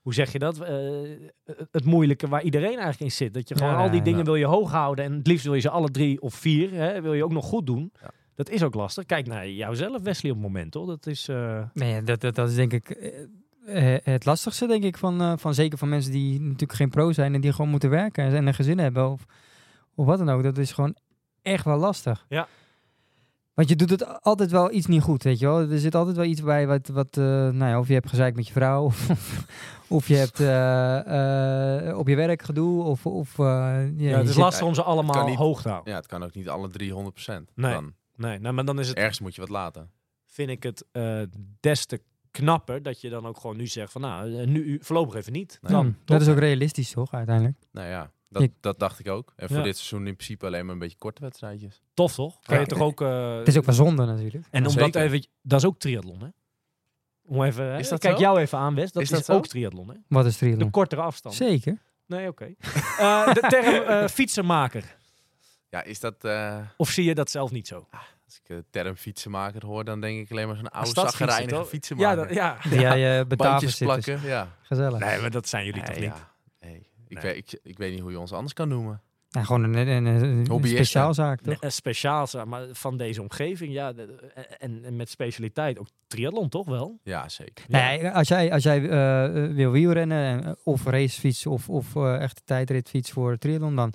S1: Hoe zeg je dat? Eh, het moeilijke waar iedereen eigenlijk in zit. Dat je gewoon
S3: Ja,
S1: al die dingen
S3: nou.
S1: wil je hoog houden. En het liefst wil je ze alle drie of vier. Hè, wil je ook nog goed doen.
S4: Ja.
S1: Dat is ook lastig. Kijk naar jouzelf, Wesley, op het moment, toch? Dat is... eh,
S3: Nee, dat, dat, dat is denk ik eh, eh, het lastigste, denk ik, van, eh, van zeker van mensen die natuurlijk geen pro zijn en die gewoon moeten werken en een gezin hebben of, of wat dan ook. Dat is gewoon echt wel lastig.
S1: Ja.
S3: Want je doet het a- altijd wel iets niet goed, weet je wel. Er zit altijd wel iets bij wat, wat eh, nou ja, of je hebt gezeik met je vrouw, of, of je hebt eh, eh, op je werk gedoe, of... of eh, ja,
S1: ja,
S3: je
S1: het is
S3: zit-
S1: lastig om ze allemaal
S4: kan niet-
S1: hoog te houden.
S4: Ja, het kan ook niet alle 300
S1: Nee.
S4: Dan,
S1: Nee, nou, maar dan is het,
S4: ergens moet je wat laten.
S1: vind ik het eh, des te knapper dat je dan ook gewoon nu zegt van nou, eh, nu voorlopig even niet.
S4: Nee.
S1: Dan,
S3: Hmm,
S1: toch?
S3: dat is ook realistisch, toch, uiteindelijk?
S4: Nou ja, dat,
S3: Ik-
S4: dat dacht ik ook. En voor
S1: Ja.
S4: dit seizoen in principe alleen maar een beetje korte wedstrijdjes.
S1: Tof toch? Kan je
S3: Ja.
S1: toch ook... eh,
S3: Het is ook wel zonde, natuurlijk.
S1: En om dat
S4: Zeker.
S1: even... Dat is ook triathlon, hè? Om even, hè,
S4: Is
S1: ik
S4: dat
S1: kijk
S4: zo?
S1: jou even aan, Wes. Dat is,
S4: Is dat zo?
S1: ook triathlon, hè?
S3: Wat is
S1: De
S3: triathlon?
S1: kortere afstand.
S3: Zeker.
S1: Nee, oké. Eh, de term eh, fietsenmaker.
S4: Ja, is dat... eh,
S1: Of zie je dat zelf niet zo?
S4: als ik de term fietsenmaker hoor, dan denk ik alleen maar zo'n oude
S1: Stadsfietsen,
S4: zagrijnige
S1: toch?
S4: fietsenmaker.
S1: Ja, dat, ja.
S3: Ja, jij eh, betaven
S4: Bandjes
S3: zit dus.
S4: plakken, ja.
S3: Gezellig.
S1: Nee, maar dat zijn jullie toch
S4: Nee,
S1: niet?
S4: ja. Nee.
S1: Nee.
S4: Ik, weet, ik, ik weet niet hoe je ons anders kan noemen.
S3: Nou, gewoon een, een, een, een
S4: Hobbyist,
S3: speciaalzaak, toch?
S1: Nee, eh, speciaal za- maar van deze omgeving, ja. de- eh, en, en met specialiteit ook triathlon toch wel?
S4: Ja, zeker.
S1: Ja.
S3: Nee, als jij, als jij eh, wil wielrennen eh, of racefiets of, of eh, echte tijdritfiets voor triathlon, dan,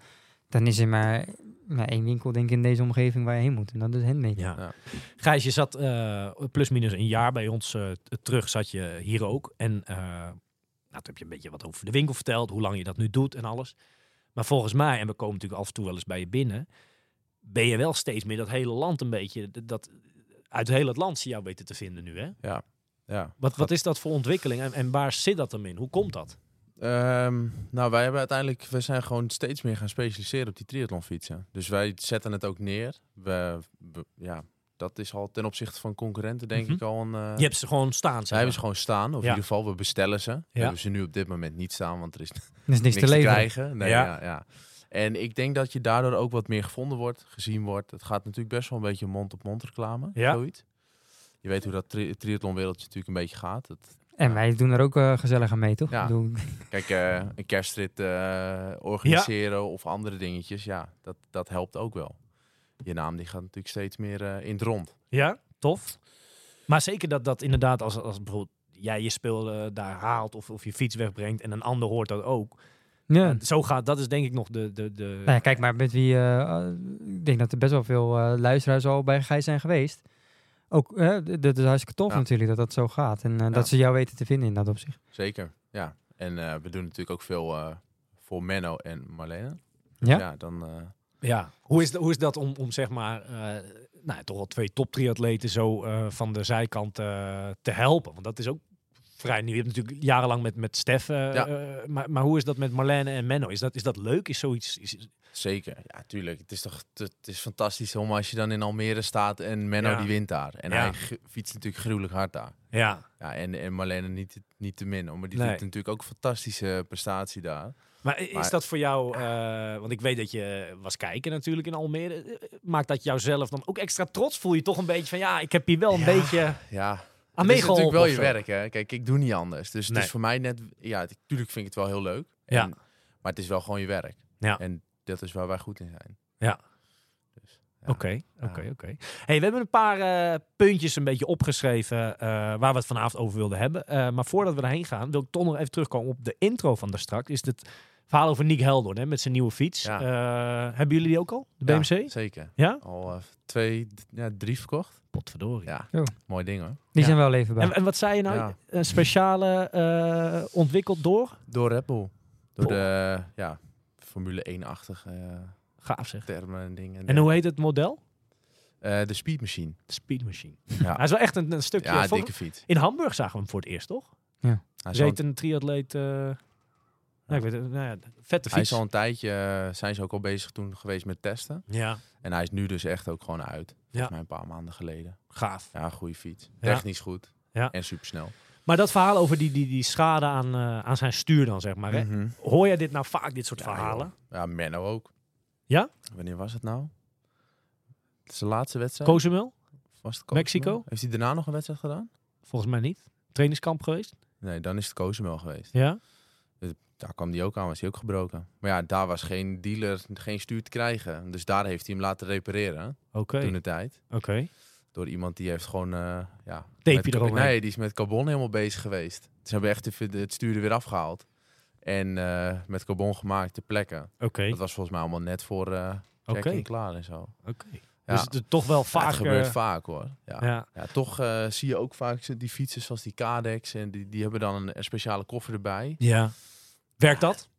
S3: dan is er maar, maar één winkel denk ik in deze omgeving waar je heen moet. En dat is Handmade.
S1: Ja.
S4: Ja.
S1: Gijs, je zat eh, plus minus een jaar bij ons eh, t- terug, zat je hier ook. En eh, nou, toen heb je een beetje wat over de winkel verteld, hoe lang je dat nu doet en alles. Maar volgens mij, en we komen natuurlijk af en toe wel eens bij je binnen, ben je wel steeds meer dat hele land een beetje, d- dat, uit heel het land zie jou weten te vinden nu, hè?
S4: Ja.
S1: Wat, wat is dat voor ontwikkeling en, en waar zit dat dan in? Hoe komt dat?
S4: Ehm, nou, wij hebben uiteindelijk, we zijn gewoon steeds meer gaan specialiseren op die triathlonfietsen. Dus wij zetten het ook neer. We, we- ja, dat is al ten opzichte van concurrenten denk
S1: Mhm.
S4: ik al een. eh,
S1: Je hebt ze gewoon staan,
S4: Zij
S1: zeg
S4: hebben
S1: maar.
S4: ze gewoon staan, of in
S1: Ja.
S4: ieder geval we bestellen ze. We hebben ze nu op dit moment niet staan, want er is niks,
S3: Er is niks,
S4: te,
S3: te leven.
S4: krijgen. Nee,
S1: Ja.
S4: ja. Ja, En ik denk dat je daardoor ook wat meer gevonden wordt, gezien wordt. Het gaat natuurlijk best wel een beetje mond-op-mond reclame,
S1: Ja.
S4: zoiets. Je weet hoe dat tri triathlonwereldje natuurlijk een beetje gaat. Het,
S3: En wij doen er ook eh, gezellig aan mee, toch?
S4: Ja.
S3: Ik bedoel,
S4: Kijk, eh, een kerstrit eh, organiseren of andere dingetjes, ja, dat, dat helpt ook wel. Je naam die gaat natuurlijk steeds meer eh, in het rond.
S1: Ja, tof. Maar zeker dat dat inderdaad, als, als bijvoorbeeld jij je spul eh, daar haalt of, of je fiets wegbrengt en een ander hoort dat ook.
S3: ja.
S1: En Zo gaat, dat is eh, denk ik nog de... de, de...
S3: Nou ja, kijk maar met wie. eh, eh, ik denk dat er best wel veel eh, luisteraars al bij Gijs zijn geweest. Ook, eh, d- dat is hartstikke tof
S4: Ja.
S3: natuurlijk dat dat zo gaat. En eh, dat ze jou weten te vinden in dat opzicht.
S4: Zeker, ja. En eh, we doen natuurlijk ook veel eh, voor Menno en Marlene. Dus
S3: Ja?
S4: ja, dan... eh,
S1: Ja, hoe is, dat- hoe is dat om, om zeg maar, eh, nou, toch wel twee top triatleten zo eh, van de zijkant eh, te helpen? Want dat is ook vrij nieuw. Je hebt natuurlijk jarenlang met, met Stef, eh,
S4: Ja.
S1: eh, maar, maar hoe is dat met Marlene en Menno? Is dat, is dat leuk? Is zoiets... is- is-
S4: Zeker, ja, tuurlijk. Het is toch het is fantastisch om als je dan in Almere staat en Menno
S1: Ja.
S4: die wint daar. En
S1: Ja.
S4: hij ge- fietst natuurlijk gruwelijk hard daar.
S1: ja,
S4: Ja, en, en Marlene niet, niet te min, hoor, maar die
S1: Nee.
S4: doet natuurlijk ook een fantastische prestatie daar.
S1: Maar i- is
S4: Maar-
S1: dat voor jou, eh, want ik weet dat je was kijken natuurlijk in Almere. Eh, Maakt dat jou zelf dan ook extra trots? Voel je toch een beetje van ja, ik heb hier wel een
S4: Ja.
S1: beetje
S4: Ja,
S1: aan
S4: Het is
S1: meegeholpen?
S4: natuurlijk wel
S1: of
S4: je
S1: zo?
S4: werk, hè. Kijk, ik doe niet anders. Dus het
S1: Nee.
S4: is voor mij net... Ja, het- tuurlijk vind ik het wel heel leuk.
S1: Ja.
S4: En- maar het is wel gewoon je werk.
S1: Ja.
S4: En dat is waar wij goed in zijn. Ja.
S1: Oké, oké, oké. Hey, we hebben een paar eh, puntjes een beetje opgeschreven eh, waar we het vanavond over wilden hebben. Eh, maar voordat we daarheen gaan, wil ik toch nog even terugkomen op de intro van daarstraks. Is het verhaal over Nick Helder hè, met zijn nieuwe fiets.
S4: Ja.
S1: Eh, hebben jullie die ook al? De BMC?
S4: Ja, zeker.
S1: Ja?
S4: Al eh, twee, d- ja, drie verkocht.
S1: Potverdorie.
S4: Ja.
S3: Zo.
S4: Mooi ding, hoor.
S3: Die
S1: Ja.
S3: zijn wel even bij.
S1: En, en wat zei je nou?
S4: Ja.
S1: Een speciale eh, ontwikkeld door?
S4: Door Red Bull. Door
S1: Oh.
S4: de ja, Formule 1-achtige eh,
S1: Gaaf zeg.
S4: termen en dingen.
S1: En hoe heet het model?
S4: Eh, de Speed Machine.
S1: Speedmachine.
S4: Ja.
S1: Hij is wel echt een, een stukje.
S4: Ja,
S1: vol-
S4: dikke fiets.
S1: In Hamburg zagen we hem voor het eerst, toch?
S4: Hij
S1: Ze
S4: zal,
S1: heet een triatleet. eh, nou, ik weet het, nou ja, vette
S4: hij
S1: fiets.
S4: is al een tijdje... eh, zijn ze ook al bezig toen geweest met testen.
S1: Ja,
S4: En hij is nu dus echt ook gewoon uit.
S1: Ja.
S4: Volgens mij een paar maanden geleden.
S1: gaaf.
S4: Ja, goede fiets.
S1: Ja.
S4: Technisch goed.
S1: Ja.
S4: En supersnel.
S1: Maar dat verhaal over die, die, die schade aan, eh, aan zijn stuur dan, zeg maar. Hè?
S4: Mhm.
S1: Hoor jij dit nou vaak, dit soort
S4: Ja,
S1: verhalen?
S4: Ja, Menno ook.
S1: Ja?
S4: Wanneer was het nou? Het is de laatste wedstrijd.
S1: Cozumel?
S4: was het
S1: Mexico?
S4: Heeft hij daarna nog een wedstrijd gedaan?
S1: Volgens mij niet. Trainingskamp geweest?
S4: Nee, dan is het Cozumel geweest.
S1: Ja.
S4: Daar kwam hij ook aan, was hij ook gebroken. Maar ja, daar was geen dealer, geen stuur te krijgen. Dus daar heeft hij hem laten repareren,
S1: Oké.
S4: toen de tijd.
S1: Oké.
S4: Door iemand die heeft gewoon... eh ja,
S1: Tape
S4: met-
S1: je eromheen.
S4: Nee, die is met carbon helemaal bezig geweest. Ze hebben echt de- het stuur er weer afgehaald. En eh, met carbon gemaakt te plekken.
S1: Oké.
S4: Dat was volgens mij allemaal net voor eh kijk
S1: Oké.
S4: en klaar en zo.
S1: Oké.
S4: Ja.
S1: Dus het is toch wel
S4: Ja,
S1: vaak...
S4: het gebeurt
S1: eh,
S4: vaak hoor. Ja.
S1: Ja.
S4: Ja, toch eh, zie je ook vaak ze- die fietsen zoals die Kadex en die, die hebben dan een, een speciale koffer erbij.
S1: ja. Werkt dat?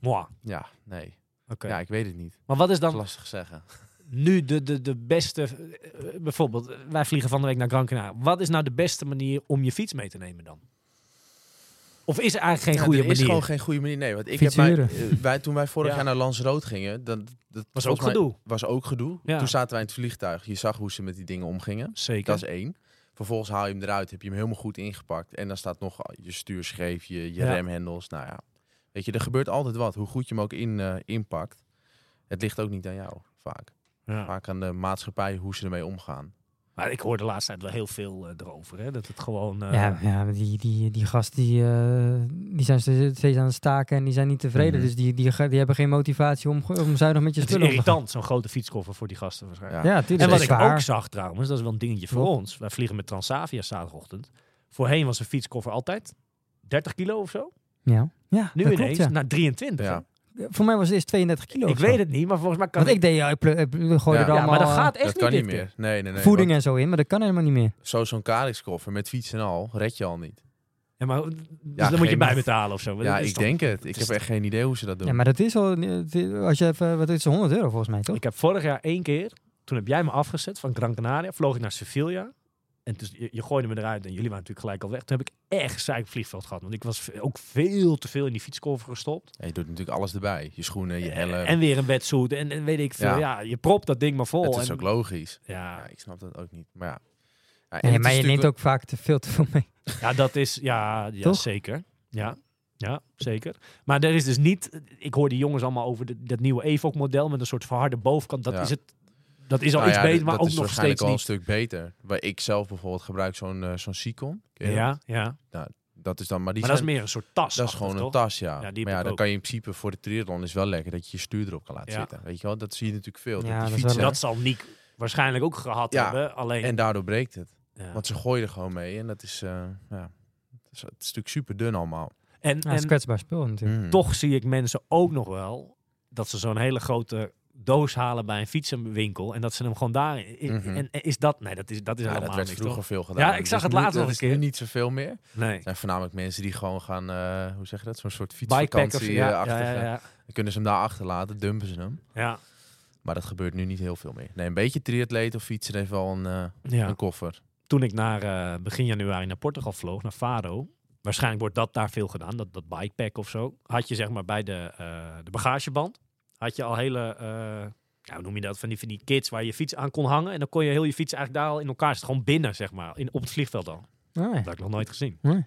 S1: Mwah. Oké.
S4: Ja, nee. Ja, ik weet het niet.
S1: Maar wat is
S4: Dat is
S1: dan
S4: lastig zeggen.
S1: nu de, de, de beste... eh, Bijvoorbeeld, wij vliegen van de week naar Gran Canaria. Wat is nou de beste manier om je fiets mee te nemen dan? Of is er eigenlijk geen
S4: Ja,
S1: goede
S4: er is
S1: manier?
S4: gewoon geen goede manier. Nee, want ik
S3: Fiets
S4: heb mijn-
S3: huren.
S4: eh, wij, toen wij vorig
S1: Ja.
S4: jaar naar Lansrood gingen, dat, dat
S1: was ook
S4: volgens mij-
S1: gedoe.
S4: was ook gedoe.
S1: Ja.
S4: Toen zaten wij in het vliegtuig. Je zag hoe ze met die dingen omgingen.
S1: Zeker.
S4: Dat is één. Vervolgens haal je hem eruit, heb je hem helemaal goed ingepakt. En dan staat nog oh, je stuurschreef, je, je
S1: Ja.
S4: remhendels. Nou ja, weet je, er gebeurt altijd wat. Hoe goed je hem ook in, eh, inpakt. Het ligt ook niet aan jou, vaak.
S1: Ja.
S4: Vaak aan de maatschappij, hoe ze ermee omgaan.
S1: Maar ik hoor de laatste tijd wel heel veel eh, erover. Hè? Dat het gewoon... eh,
S3: Ja, ja maar die, die, die gast die, eh, die zijn steeds steeds aan het staken en die zijn niet tevreden.
S4: Mhm.
S3: Dus die, die, ga- die hebben geen motivatie om, ge- om zuinig met je
S1: het is
S3: spullen om te gaan.
S1: irritant, zo'n grote fietskoffer voor die gasten waarschijnlijk.
S4: Ja.
S3: Ja, tuurlijk.
S1: En
S3: dat
S1: wat
S3: is
S1: ik
S3: zwaar.
S1: ook zag trouwens, dat is wel een dingetje voor ons. Wij vliegen met Transavia zaterdagochtend. Voorheen was een fietskoffer altijd 30 kilo of zo.
S3: Ja, ja
S1: Nu
S3: dat
S1: ineens
S3: klopt, ja.
S1: naar 23.
S4: Ja.
S3: Voor mij was het eerst 32 kilo.
S1: Ik
S3: of zo.
S1: weet het niet, maar volgens mij kan
S3: Want ik deed, ja, ik, pl- ik gooide
S4: Ja.
S3: er allemaal
S1: Ja, maar dat
S3: eh,
S1: gaat echt
S4: dat kan niet
S1: dit keer.
S4: meer. Nee, nee, nee.
S3: voeding
S4: want
S3: en zo in, maar dat kan helemaal niet meer.
S4: Zo zo'n karikskoffer met fiets en al, red je al niet.
S1: Ja, maar dus dan
S4: geen-
S1: moet je bijbetalen of zo. maar
S4: Ja,
S1: dat is
S4: ik
S1: toch-
S4: denk het. Ik
S1: is
S4: heb echt geen idee hoe ze dat doen.
S3: Ja, maar dat is al, eh, als je even, wat is het, 100 euro volgens mij, toch?
S1: Ik heb vorig jaar één keer, toen heb jij me afgezet van Gran Canaria, vloog ik naar Sevilla. En dus, je, je gooide me eruit en jullie waren natuurlijk gelijk al weg. Toen heb ik echt zeik vliegveld gehad. Want ik was ve- ook veel te veel in die fietskoffer gestopt.
S4: Ja, je doet natuurlijk alles erbij. Je schoenen, je helm.
S1: En weer een wetsuit en, en weet ik veel. Ja.
S4: Ja.
S1: je propt dat ding maar vol.
S4: dat is
S1: en,
S4: ook logisch.
S1: ja,
S4: Ja, ik snap dat ook niet. Maar ja. ja en
S3: Nee,
S4: het
S3: maar
S4: is
S3: je
S4: natuurlijk
S3: neemt ook vaak te veel te veel mee.
S1: ja, dat is, ja, ja
S3: Toch?
S1: zeker. Ja, ja, zeker. Maar er is dus niet, ik hoor die jongens allemaal over de- dat nieuwe EVOC-model met een soort verharde bovenkant. Dat
S4: Ja.
S1: is het, dat is al
S4: Nou
S1: iets
S4: ja,
S1: beter, maar
S4: dat
S1: ook
S4: is
S1: nog
S4: waarschijnlijk
S1: steeds
S4: wel
S1: niet.
S4: een stuk beter. Waar ik zelf bijvoorbeeld gebruik zo'n eh, zo'n Sikon. Ken je dat?
S1: Ja, ja.
S4: Dat is dan, maar die
S1: Maar dat is
S4: zijn-
S1: meer een soort tas.
S4: dat is gewoon een tas, ja.
S1: Ja, die heb
S4: maar ja,
S1: ik
S4: dan
S1: ook.
S4: kan je in principe voor de triathlon is wel lekker dat je je stuur erop kan laten
S1: Ja.
S4: zitten. Weet je wel, dat zie je natuurlijk veel.
S3: Ja,
S4: dat die
S3: dat is wel
S4: fietsen,
S1: Dat zal Niek waarschijnlijk ook gehad
S4: Ja.
S1: hebben. Alleen,
S4: en daardoor breekt het.
S1: ja.
S4: Want ze gooien er gewoon mee en dat is, eh, ja, het is, het is natuurlijk super dun allemaal.
S1: en,
S3: Ja, dat is
S1: en
S3: kwetsbaar spul natuurlijk.
S4: Mm.
S1: toch zie ik mensen ook nog wel dat ze zo'n hele grote doos halen bij een fietsenwinkel en dat ze hem gewoon daar i-
S4: Mhm.
S1: en en is dat nee dat is dat is
S4: Ja,
S1: helemaal
S4: dat werd
S1: niks,
S4: vroeger
S1: toch?
S4: veel gedaan.
S1: ik
S4: Dus
S1: zag het
S4: nu-
S1: laatst
S4: dat
S1: nog
S4: is
S1: een
S4: nu
S1: keer.
S4: niet zoveel meer.
S1: nee
S4: Er zijn voornamelijk mensen die gewoon gaan, eh, hoe zeg je dat, zo'n soort
S1: bikepack of
S4: fietsvakantie eh,
S1: ja,
S4: ja,
S1: ja, ja, ja.
S4: Dan kunnen ze hem daar achterlaten, dumpen ze hem.
S1: ja,
S4: Maar dat gebeurt nu niet heel veel meer. Nee, een beetje triatleet of fietsen heeft wel een, eh,
S1: ja.
S4: een koffer.
S1: toen ik naar eh, begin januari naar Portugal vloog naar Faro waarschijnlijk wordt dat daar veel gedaan dat dat bikepack of zo had je zeg maar bij de, eh, de bagageband had je al hele eh ja, hoe noem je dat van die van die kids waar je fiets aan kon hangen en dan kon je heel je fiets eigenlijk daar al in elkaar zitten gewoon binnen zeg maar in, op het vliegveld al
S3: Ah, ja.
S1: Dat heb ik nog nooit gezien.
S3: Nee.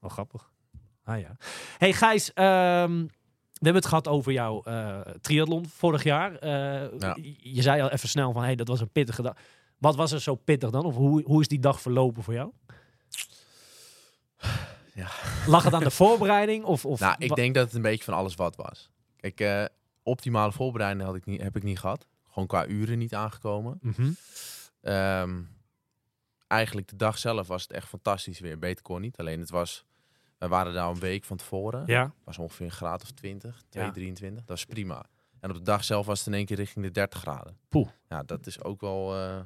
S1: Wel grappig. Ah ja. Hey Gijs, ehm, we hebben het gehad over jouw eh triathlon vorig jaar. Eh,
S4: Ja.
S1: je- Je zei al even snel van, hey, dat was een pittige dag. Wat was er zo pittig dan? Of hoe, hoe is die dag verlopen voor jou?
S4: Ja.
S1: Lag het aan de voorbereiding? Of, of
S4: nou, ik
S1: wa-
S4: denk dat het een beetje van alles wat was. Kijk, eh, optimale voorbereiding had ik niet, heb ik niet gehad. Gewoon qua uren niet aangekomen.
S1: Mhm.
S4: Ehm, eigenlijk de dag zelf was het echt fantastisch weer. Beter kon niet. Alleen het was, we waren daar een week van tevoren.
S1: Ja,
S4: was ongeveer een graad of 20, 2,
S1: Ja.
S4: 23. Dat is prima. En op de dag zelf was het in één keer richting de 30 graden.
S1: Poeh.
S4: Ja, dat is ook wel eh,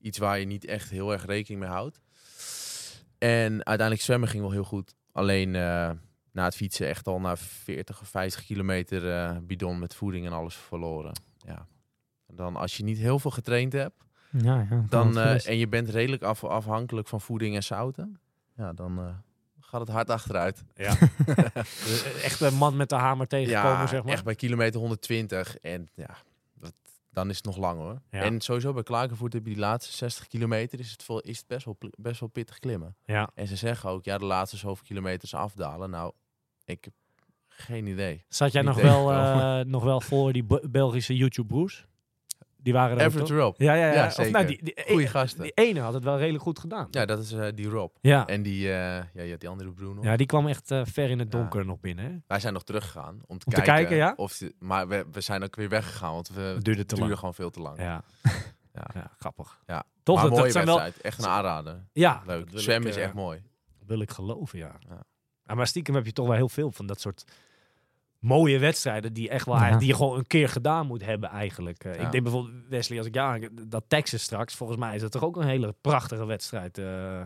S4: iets waar je niet echt heel erg rekening mee houdt. En uiteindelijk zwemmen ging wel heel goed. Alleen eh, na het fietsen echt al na 40 of 50 kilometer eh, bidon met voeding en alles verloren. Ja. En Dan als je niet heel veel getraind hebt
S3: Ja, ja, kan
S4: dan,
S3: het
S4: eh,
S3: best.
S4: en je bent redelijk af- afhankelijk van voeding en zouten, ja, dan eh, gaat het hard achteruit.
S1: ja. Dus echt een man met de hamer tegenkomen, zeg maar.
S4: echt bij kilometer 120. En ja, dat, dan is het nog lang hoor.
S1: Ja.
S4: En sowieso bij Klagenvoort heb je die laatste 60 kilometer is het, veel, is het best, wel, pl- best wel pittig klimmen.
S1: Ja.
S4: En ze zeggen ook, ja, de laatste zoveel kilometers afdalen. Nou, ik heb geen idee.
S1: Zat jij
S4: niet
S1: nog wel,
S4: tegenkomen.
S1: eh, nog wel voor die Be- Belgische YouTube-broers? Die waren er ook,
S4: Everett
S1: toch?
S4: Rob,
S1: Ja, ja, ja.
S4: Ja,
S1: Of,
S4: zeker.
S1: nou, die, die,
S4: goeie
S1: Die
S4: gasten.
S1: ene had het wel redelijk goed gedaan.
S4: Ja, dat is eh, die Rob.
S1: Ja,
S4: En die, eh, ja, je had die andere broer nog.
S1: ja die kwam echt eh, ver in het
S4: Ja.
S1: donker nog binnen. Hè?
S4: Wij zijn nog teruggegaan om te
S1: Om te
S4: kijken.
S1: kijken, ja?
S4: of ze, maar we, we zijn ook weer weggegaan, want we
S1: Het
S4: het
S1: duurde te
S4: duurde
S1: lang.
S4: gewoon veel te lang.
S1: Ja. Ja.
S4: Ja.
S1: grappig.
S4: Ja.
S1: Toch,
S4: maar
S1: dat,
S4: een mooie
S1: dat zijn wel...
S4: wedstrijd, echt een aanrader.
S1: Ja, dat
S4: Leuk.
S1: wil
S4: Zwemmen
S1: ik,
S4: is
S1: eh,
S4: echt mooi.
S1: Wil ik geloven, ja.
S4: Ja.
S1: Ja, Maar stiekem heb je toch wel heel veel van dat soort mooie wedstrijden die, echt wel,
S3: Ja.
S1: eigenlijk- die je gewoon een keer gedaan moet hebben eigenlijk. Eh,
S4: Ja.
S1: Ik denk bijvoorbeeld, Wesley, als ik ja, dat Texas straks, volgens mij is dat toch ook een hele prachtige wedstrijd. eh.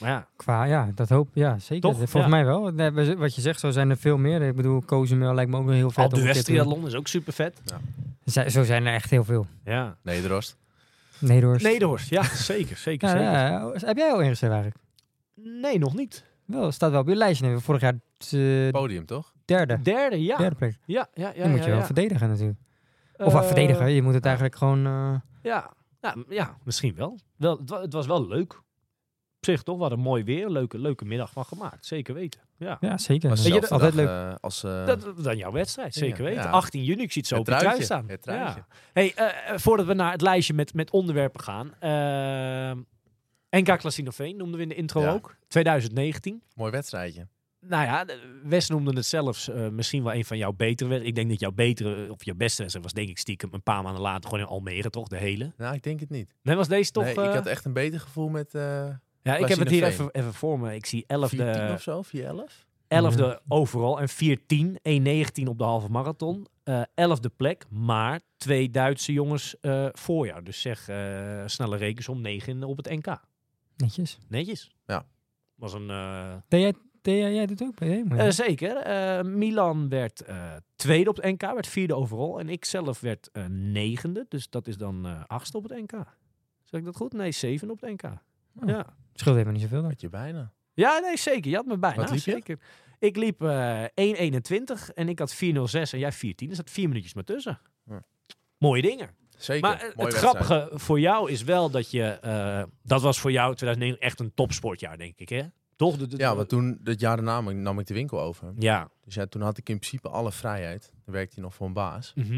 S1: maar ja,
S3: Qua, ja, dat hoop ja, zeker.
S1: Toch?
S3: Volgens mij wel. Nee, we- Wat je zegt, zo zijn er veel meer. Ik bedoel, Cozumel lijkt me ook wel heel vet.
S1: Alpe
S3: om een
S1: d'Huez
S3: keer te doen.
S1: triathlon is ook super vet.
S3: Dat Zo zo zijn er echt heel veel.
S1: Ja.
S4: Nee, Drost.
S3: Nederhorst.
S1: Nederhorst, ja, zeker, zeker,
S3: Ja,
S1: zeker.
S3: ja, Oh, heb jij al ingeschreven eigenlijk?
S1: Nee, nog niet.
S3: Wel, staat wel op je lijstje. Nee, Vorig jaar eh,
S4: Podium, toch?
S3: derde.
S1: Derde, ja.
S3: Derde plek.
S1: Ja, ja, ja.
S3: Dan moet
S1: ja,
S3: je wel
S1: ja.
S3: verdedigen natuurlijk. Of ah,
S1: Eh,
S3: verdedigen. Je moet het eigenlijk gewoon... eh,
S1: Ja, ja, m- ja misschien wel. wel het, wa- het was wel leuk. Op zich toch, wat een mooi weer. Leuke, leuke middag van gemaakt, zeker weten. Ja.
S3: ja, zeker.
S4: Was
S3: Ja,
S1: je
S4: dezelfde
S1: dat-
S3: altijd
S4: dag,
S3: leuk.
S4: eh, als, eh,
S1: Dat, dan jouw wedstrijd, zeker
S4: Ja,
S1: weten.
S4: ja.
S1: 18 juni, ik zie het zo
S4: Het
S1: op je
S4: truitje,
S1: trui staan.
S4: het
S1: ja.
S4: truitje.
S1: hey, eh, eh, voordat we naar het lijstje met, met onderwerpen gaan. ehm NK Klassinoveen noemden we in de intro
S4: Ja.
S1: ook. 2019.
S4: mooi wedstrijdje.
S1: Nou ja, de- Wes noemde het zelfs eh, misschien wel een van jouw betere wedstrijden. Ik denk dat jouw betere eh, of jouw beste wedstrijd was denk ik stiekem een paar maanden later gewoon in Almere toch, de hele.
S4: Nou, ik denk het niet.
S1: Nee, was deze toch?
S4: nee,
S1: eh,
S4: ik had echt een beter gevoel met eh
S1: ja, ik heb het hier even,
S4: Klassinoveen.
S1: even voor me. Ik zie
S4: 14
S1: 11e,
S4: of zo, Mhm. 4, 11.
S1: 11e overal en 14, 1,19 op de halve marathon. Eh 11e plek, maar twee Duitse jongens eh, voor jou. Dus zeg eh, snelle rekens om 9 op het NK.
S3: Netjes.
S1: Netjes.
S4: Ja.
S1: Was een... eh,
S3: Deed jij, deed jij, jij doet ook bij je, maar ja.
S1: Eh, zeker. Eh, Milan werd eh, tweede op het NK, werd vierde overal. En ik zelf werd eh, negende, dus dat is dan eh, achtste op het NK. Zeg ik dat goed? Nee, zevende op het NK.
S3: Oh.
S1: Ja.
S3: Scheelt helemaal niet zoveel dan.
S4: Had je bijna.
S1: ja, nee, zeker. Je had me bijna.
S4: Wat liep je?
S1: zeker. Ik liep eh 1.21 en ik had 4.06 en jij 14. Er zat vier minuutjes maar tussen.
S4: Ja.
S1: Mooie dingen.
S4: Zeker.
S1: Maar eh,
S4: Mooie
S1: het
S4: wedstrijd.
S1: grappige voor jou is wel dat je... eh, dat was voor jou 2009 echt een topsportjaar, denk ik, hè? Toch? De- de-
S4: Ja, want toen, dat jaar daarna nam ik- nam ik de winkel over.
S1: Ja.
S4: Dus ja, toen had ik in principe alle vrijheid. Dan werkte hij nog voor een baas.
S1: Mhm.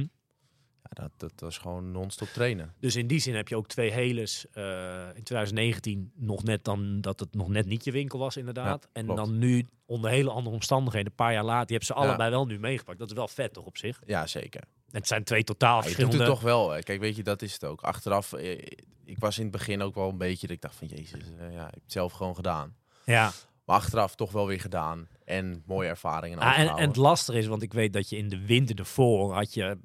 S4: Ja, dat, dat was gewoon non-stop trainen.
S1: Dus in die zin heb je ook twee heles. eh, in 2019 nog net dan dat het nog net niet je winkel was, inderdaad. en
S4: klopt.
S1: dan nu onder hele andere omstandigheden, een paar jaar later, je hebt ze
S4: Ja.
S1: allebei wel nu meegepakt. Dat is wel vet toch op zich.
S4: Ja, zeker.
S1: Het zijn twee totaal
S4: Ja, je doet
S1: verschillende.
S4: het toch wel. hè. Kijk, weet je, dat is het ook. Achteraf, eh, ik was in het begin ook wel een beetje dat ik dacht van... Jezus, eh, ja, ik heb het zelf gewoon gedaan.
S1: Ja.
S4: Maar achteraf toch wel weer gedaan. En mooie ervaringen
S1: Ah, en, en
S4: overgehouden.
S1: het lastige is, want ik weet dat je in de winter ervoor had je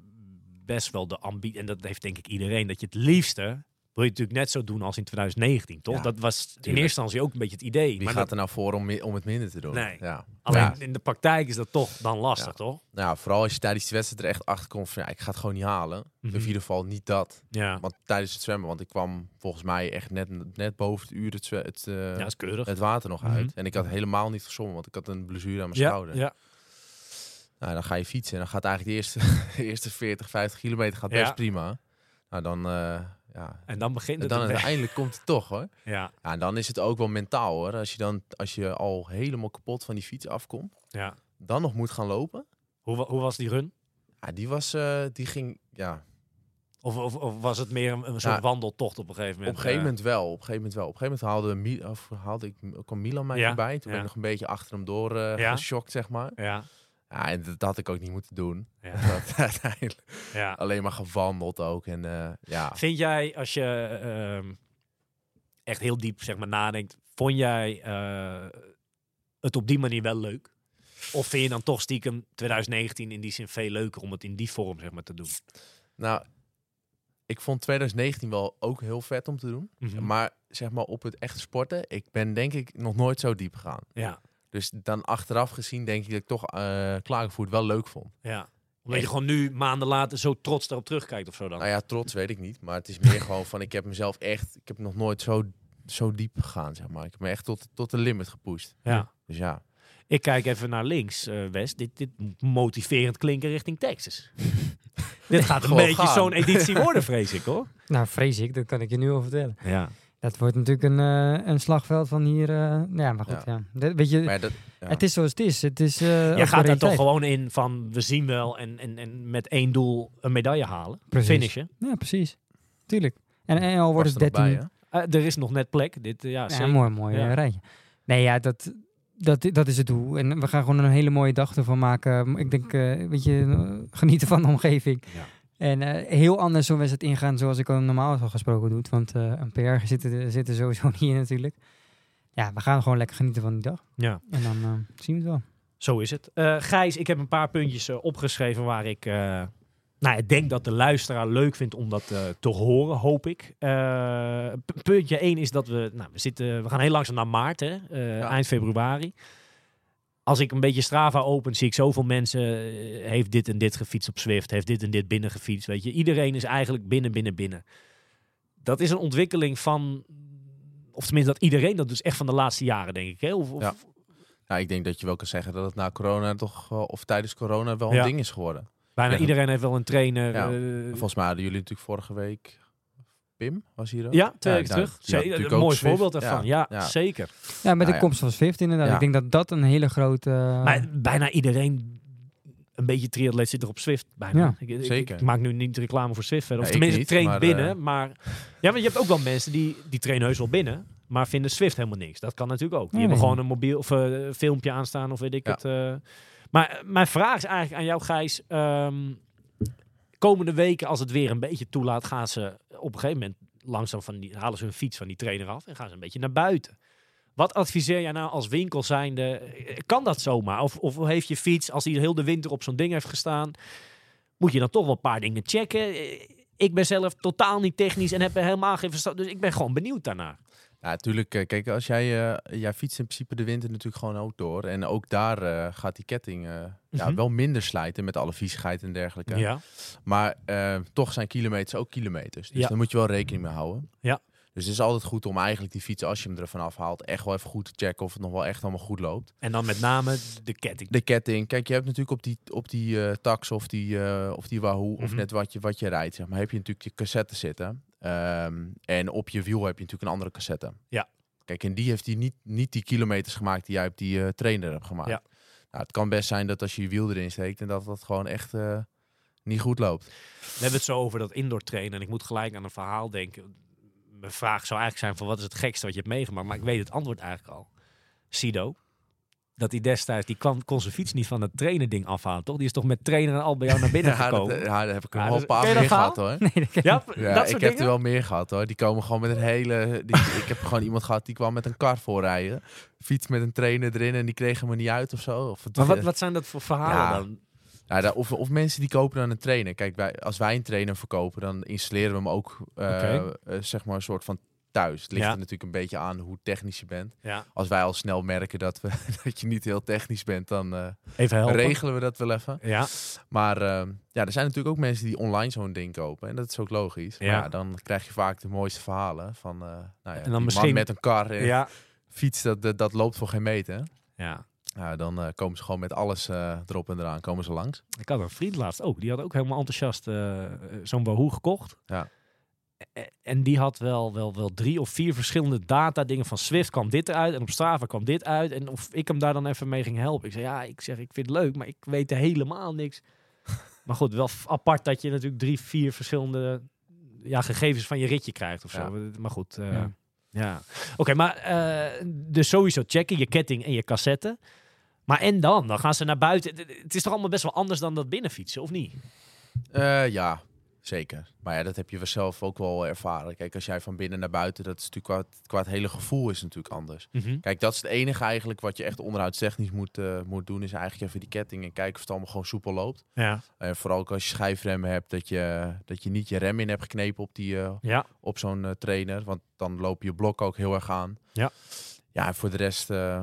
S1: best wel de ambitie. En dat heeft denk ik iedereen. Dat je het liefste wil je het natuurlijk net zo doen als in 2019, toch?
S4: Ja,
S1: dat was in
S4: tuurlijk.
S1: eerste instantie ook een beetje het idee.
S4: Wie
S1: maar
S4: gaat
S1: dat-
S4: er nou voor om, mi- om het minder te doen?
S1: Nee.
S4: Ja.
S1: alleen
S4: Ja.
S1: in de praktijk is dat toch dan lastig,
S4: Ja.
S1: toch?
S4: Nou, ja, vooral als je tijdens die wedstrijd er echt achter komt van... Ja, ik ga het gewoon niet halen.
S1: Mhm.
S4: Of in ieder geval niet dat.
S1: Ja.
S4: Want tijdens het zwemmen, want ik kwam volgens mij echt net, net boven het uur het, zwe- het, eh,
S1: Ja, is keurig.
S4: het water nog uit.
S1: Mhm.
S4: En ik had helemaal niet gezwommen, want ik had een blessure aan mijn
S1: ja,
S4: schouder.
S1: ja,
S4: Nou, dan ga je fietsen en dan gaat eigenlijk de eerste, de eerste 40, 50 kilometer gaat best
S1: Ja.
S4: prima. Nou, dan, eh, ja.
S1: en dan begint
S4: En
S1: het.
S4: dan
S1: een beetje.
S4: uiteindelijk komt het toch hoor.
S1: Ja,
S4: Ja, en Nou, dan is het ook wel mentaal hoor. Als je, dan, als je al helemaal kapot van die fiets afkomt,
S1: ja.
S4: dan nog moet gaan lopen.
S1: Hoe, wa- hoe was die run?
S4: Ja, die, was, eh, die ging, ja,
S1: Of, of, of was het meer een, een soort
S4: Ja,
S1: wandeltocht op een gegeven
S4: Op
S1: moment?
S4: een gegeven
S1: eh?
S4: moment wel. Op een gegeven moment wel. Op een gegeven moment haalde, Mi- of haalde ik, kwam Milan mij
S1: Ja,
S4: voorbij. Toen ben
S1: ja.
S4: ik nog een beetje achter hem door eh
S1: Ja.
S4: geschokt, zeg maar.
S1: Ja,
S4: Ja, en dat had ik ook niet moeten doen.
S1: ja,
S4: Want uiteindelijk
S1: ja.
S4: alleen maar gewandeld ook. En eh, ja,
S1: Vind jij, als je ehm, echt heel diep zeg maar, nadenkt, vond jij eh, het op die manier wel leuk? Of vind je dan toch stiekem 2019 in die zin veel leuker om het in die vorm zeg maar, te doen?
S4: nou, ik vond 2019 wel ook heel vet om te doen.
S1: Mhm.
S4: Maar zeg maar op het echt sporten, ik ben denk ik nog nooit zo diep gegaan.
S1: Ja,
S4: Dus dan achteraf gezien denk ik dat ik toch eh Klagenvoort wel leuk vond.
S1: ja. Omdat je
S4: Echt.
S1: gewoon nu, maanden later, zo trots daarop terugkijkt of zo dan?
S4: Nou ja, trots weet ik niet. Maar het is meer gewoon van, ik heb mezelf echt... Ik heb nog nooit zo, zo diep gegaan, zeg maar. Ik heb me echt tot, tot de limit gepusht.
S1: ja.
S4: Dus ja.
S1: Ik kijk even naar links, eh Wes. Dit, dit moet motiverend klinken richting Texas. dit gaat een
S4: gewoon
S1: beetje
S4: gaan.
S1: zo'n editie worden, vrees ik hoor.
S3: Nou, vrees ik. Dat kan ik je nu al vertellen.
S1: Ja.
S3: Dat wordt natuurlijk een, eh, een slagveld van hier. eh, nou ja, maar goed. Ja.
S4: Ja.
S3: Dat- weet je,
S4: Maar ja, dat, ja.
S3: het is zoals het is. Het is eh, ook
S1: Je
S3: de
S1: gaat er toch
S3: realiteit.
S1: gewoon in van we zien wel en, en, en met één doel een medaille halen.
S3: Precies.
S1: Finishen.
S3: Ja, precies. Tuurlijk. En, en al wordt
S4: Past
S3: het
S4: er nog
S3: 13.
S4: bij, hè?
S1: Eh, er is nog net plek. Dit, eh, ja,
S3: ja,
S1: zeker.
S3: mooi, mooi
S1: Ja.
S3: eh, rijtje. Nee, ja, dat, dat, dat is het doel. En we gaan gewoon een hele mooie dag ervan maken. Ik denk, eh, weet je, eh, genieten van de omgeving.
S1: Ja.
S3: En eh, heel anders zo'n wedstrijd ingaan zoals ik hem normaal al gesproken doe. Want eh, een PR zit er, zit er sowieso niet in natuurlijk. Ja, we gaan gewoon lekker genieten van die dag.
S1: Ja.
S3: En dan eh, zien we het wel.
S1: Zo is het. Eh, Gijs, ik heb een paar puntjes eh, opgeschreven waar ik eh, nou, ik denk dat de luisteraar leuk vindt om dat eh, te horen, hoop ik. Eh, p- puntje 1 is dat we, nou, we, zitten, we gaan heel langzaam naar maart, hè, eh,
S4: Ja.
S1: eind februari. als ik een beetje Strava open, zie ik zoveel mensen. eh, Heeft dit en dit gefietst op Zwift, heeft dit en dit binnen gefietst. Weet je, iedereen is eigenlijk binnen, binnen, binnen. Dat is een ontwikkeling van. Of tenminste, dat iedereen dat dus echt van de laatste jaren, denk ik. Hè? Of, of-
S4: Ja. Nou, ik denk dat je wel kan zeggen dat het na corona toch, eh, of tijdens corona, wel een
S1: Ja.
S4: ding is geworden.
S1: Bijna
S4: Ja.
S1: iedereen heeft wel een trainer.
S4: Ja.
S1: eh,
S4: Volgens mij hadden jullie natuurlijk vorige week... Pim was hier ook?
S1: Ja, twee
S4: Ja,
S1: weken
S4: nou,
S1: terug.
S4: die had
S1: Zeker,
S4: natuurlijk
S1: een
S4: ook
S1: mooi
S4: Zwift.
S1: voorbeeld daarvan. Ja,
S4: ja.
S1: zeker.
S3: Ja, met
S4: Nou
S3: de
S4: ja.
S3: komst van Zwift inderdaad.
S4: Ja.
S3: Ik denk dat dat een hele grote... eh,
S1: Maar bijna iedereen, een beetje triatleet, zit er op Swift bijna.
S3: Ja,
S1: Ik- ik, ik
S4: zeker.
S1: maak nu niet reclame voor Swift verder. Of
S4: Ja, ik
S1: tenminste,
S4: niet,
S1: train
S4: maar,
S1: binnen.
S4: eh,
S1: Maar ja, want je hebt ook wel mensen die, die trainen heus wel binnen, maar vinden Swift helemaal niks. Dat kan natuurlijk ook. Die
S3: Nee.
S1: hebben gewoon een mobiel of eh, filmpje aanstaan of weet ik
S4: Ja.
S1: het. eh. maar eh, mijn vraag is eigenlijk aan jou, Gijs. ehm, komende weken, als het weer een beetje toelaat, gaan ze op een gegeven moment langzaam van die, halen ze hun fiets van die trainer af en gaan ze een beetje naar buiten. Wat adviseer jij nou als winkel zijnde? eh, Kan dat zomaar? Of, of heeft je fiets, als die heel de winter op zo'n ding heeft gestaan, moet je dan toch wel een paar dingen checken? Eh, Ik ben zelf totaal niet technisch en heb er helemaal geen verstand. Dus ik ben gewoon benieuwd daarnaar.
S4: Ja, natuurlijk. Kijk, als jij, eh, jij fietst in principe de winter natuurlijk gewoon ook door. En ook daar eh, gaat die ketting eh, ja,
S1: Mhm.
S4: wel minder slijten met alle viezigheid en dergelijke. Maar eh, toch zijn kilometers ook kilometers. Dus
S1: Ja.
S4: daar moet je wel rekening mee houden.
S1: Ja.
S4: Dus het is altijd goed om eigenlijk die fiets, als je hem ervan afhaalt, echt wel even goed te checken of het nog wel echt allemaal goed loopt.
S1: En dan met name de ketting.
S4: De ketting. Kijk, je hebt natuurlijk op die, op die eh, tax of die, eh, of die Wahoo of
S1: Mhm.
S4: net wat je, wat je rijdt, zeg maar, heb je natuurlijk je cassette zitten. Ehm, en op je wiel heb je natuurlijk een andere cassette.
S1: Ja.
S4: Kijk, en die heeft die niet, niet die kilometers gemaakt die jij op die eh, trainer hebt gemaakt.
S1: Ja.
S4: Nou, het kan best zijn dat als je je wiel erin steekt en dat dat gewoon echt eh, niet goed loopt.
S1: We hebben het zo over dat indoor trainen. En ik moet gelijk aan een verhaal denken. Mijn vraag zou eigenlijk zijn van wat is het gekste wat je hebt meegemaakt? Maar ik weet het antwoord eigenlijk al. Sido. Dat hij destijds, die kwam, kon zijn fiets niet van dat trainen ding afhalen, toch? Die is toch met trainer en al bij jou naar binnen
S4: Ja, dat,
S1: gekomen?
S4: eh, ja, daar heb ik
S1: Ja,
S4: er wel
S1: dat-
S4: een paar
S1: ken je dat
S4: meer gehad hoor.
S3: nee, dat kan-
S1: ja,
S4: Ja,
S1: dat
S4: ik
S1: soort
S4: heb
S1: dingen?
S4: er wel meer gehad hoor. Die komen gewoon met een hele. Die, ik heb gewoon iemand gehad die kwam met een kar voorrijden. Fiets met een trainer erin en die kregen hem er niet uit of zo. Of, het-
S1: Maar wat, wat zijn dat voor verhalen
S4: Ja.
S1: dan?
S4: Ja, daar- of, of mensen die kopen dan een trainer. Kijk, wij, als wij een trainer verkopen, dan installeren we hem ook eh,
S1: Oké.
S4: eh, zeg maar een soort van thuis. Het ligt
S1: Ja.
S4: er natuurlijk een beetje aan hoe technisch je bent.
S1: Ja.
S4: Als wij al snel merken dat, we, dat je niet heel technisch bent, dan eh,
S1: Even helpen.
S4: regelen we dat wel even.
S1: Ja.
S4: Maar ehm, ja, er zijn natuurlijk ook mensen die online zo'n ding kopen. En dat is ook logisch. Maar
S1: Ja.
S4: ja, dan krijg je vaak de mooiste verhalen. Van eh, nou ja,
S1: dan
S4: die
S1: misschien-
S4: man met een kar en
S1: Ja.
S4: fiets, dat, dat, dat loopt voor geen meter.
S1: ja.
S4: Ja, dan eh, komen ze gewoon met alles eh, erop en eraan. Komen ze langs.
S1: Ik had een vriend laatst ook. Die had ook helemaal enthousiast eh, eh, zo'n Wahoo gekocht.
S4: Ja.
S1: E- En die had wel, wel, wel drie of vier verschillende data dingen van Swift kwam dit eruit en op Strava kwam dit uit. En of ik hem daar dan even mee ging helpen. Ik zei ja, ik zeg ik vind het leuk, maar ik weet er helemaal niks. maar goed, wel f- apart dat je natuurlijk drie, vier verschillende ja, gegevens van je ritje krijgt of zo. Maar goed, eh,
S3: Ja.
S1: ja. Oké, maar eh, dus sowieso checken je ketting en je cassette. Maar en dan? Dan gaan ze naar buiten. D- d- Het is toch allemaal best wel anders dan dat binnenfietsen, of niet?
S4: Eh, ja, zeker. Maar ja, dat heb je wel zelf ook wel ervaren. Kijk, als jij van binnen naar buiten, dat is natuurlijk qua, het- qua het hele gevoel is natuurlijk anders.
S1: Mhm.
S4: Kijk, dat is het enige eigenlijk wat je echt onderhoudstechnisch moet, eh, moet doen. Is eigenlijk even die ketting en kijken of het allemaal gewoon soepel loopt.
S1: Ja.
S4: En Eh, vooral ook als je schijfremmen hebt, dat je, dat je niet je rem in hebt geknepen op, die, eh,
S1: Ja.
S4: op zo'n eh, trainer. Want dan loop je blok ook heel erg aan.
S1: Ja.
S4: Ja, en voor de rest eh,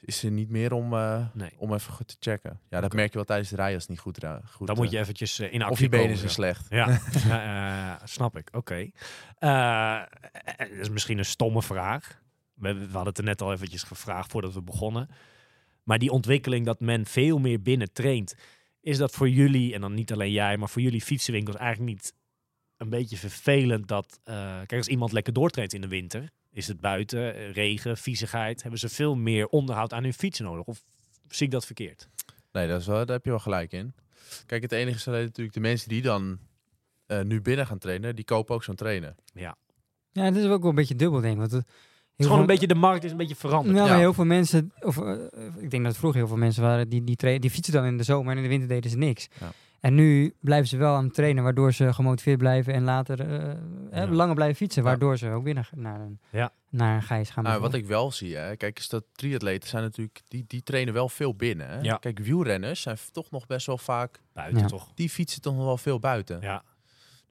S4: is er niet meer om, eh,
S1: Nee.
S4: om even goed te checken. Ja, dat merk je wel tijdens de rij als het niet goed, ra- goed
S1: Dan
S4: eh,
S1: moet je eventjes eh, in actie
S4: Of je benen
S1: komen,
S4: zijn
S1: ja.
S4: slecht.
S1: Ja, ja, eh, snap ik. Oké. Eh, eh, dat is misschien een stomme vraag. We, we hadden het er net al eventjes gevraagd voordat we begonnen. Maar die ontwikkeling dat men veel meer binnen traint, is dat voor jullie, en dan niet alleen jij, maar voor jullie fietsenwinkels eigenlijk niet een beetje vervelend dat. eh, kijk, als iemand lekker doortraint in de winter, is het buiten, eh, regen, viezigheid, hebben ze veel meer onderhoud aan hun fiets nodig? Of zie ik dat verkeerd?
S4: Nee, dat is wel, daar heb je wel gelijk in. Kijk, het enige is alleen natuurlijk de mensen die dan eh, nu binnen gaan trainen, die kopen ook zo'n trainer.
S3: ja, dat is ook wel een beetje dubbel, denk ik. Want het,
S1: Het is gewoon een beetje, de markt is een beetje veranderd.
S3: Nou,
S4: Ja.
S3: maar heel veel mensen, of eh, ik denk dat het vroeger heel veel mensen waren, die, die, tra- die fietsen dan in de zomer en in de winter deden ze niks.
S4: Ja.
S3: En nu blijven ze wel aan het trainen, waardoor ze gemotiveerd blijven en later eh, eh,
S1: Ja.
S3: langer blijven fietsen, waardoor ze ook weer naar, naar een,
S1: Ja.
S3: naar een gijs gaan.
S4: Nou, wat
S3: bijvoorbeeld.
S4: ik wel zie, hè, kijk, is dat triatleten zijn natuurlijk, die, die trainen wel veel binnen. Hè?
S1: Ja.
S4: Kijk, wielrenners zijn toch nog best wel vaak,
S1: Buiten
S3: Ja.
S1: toch?
S4: die fietsen toch nog wel veel buiten.
S1: Ja.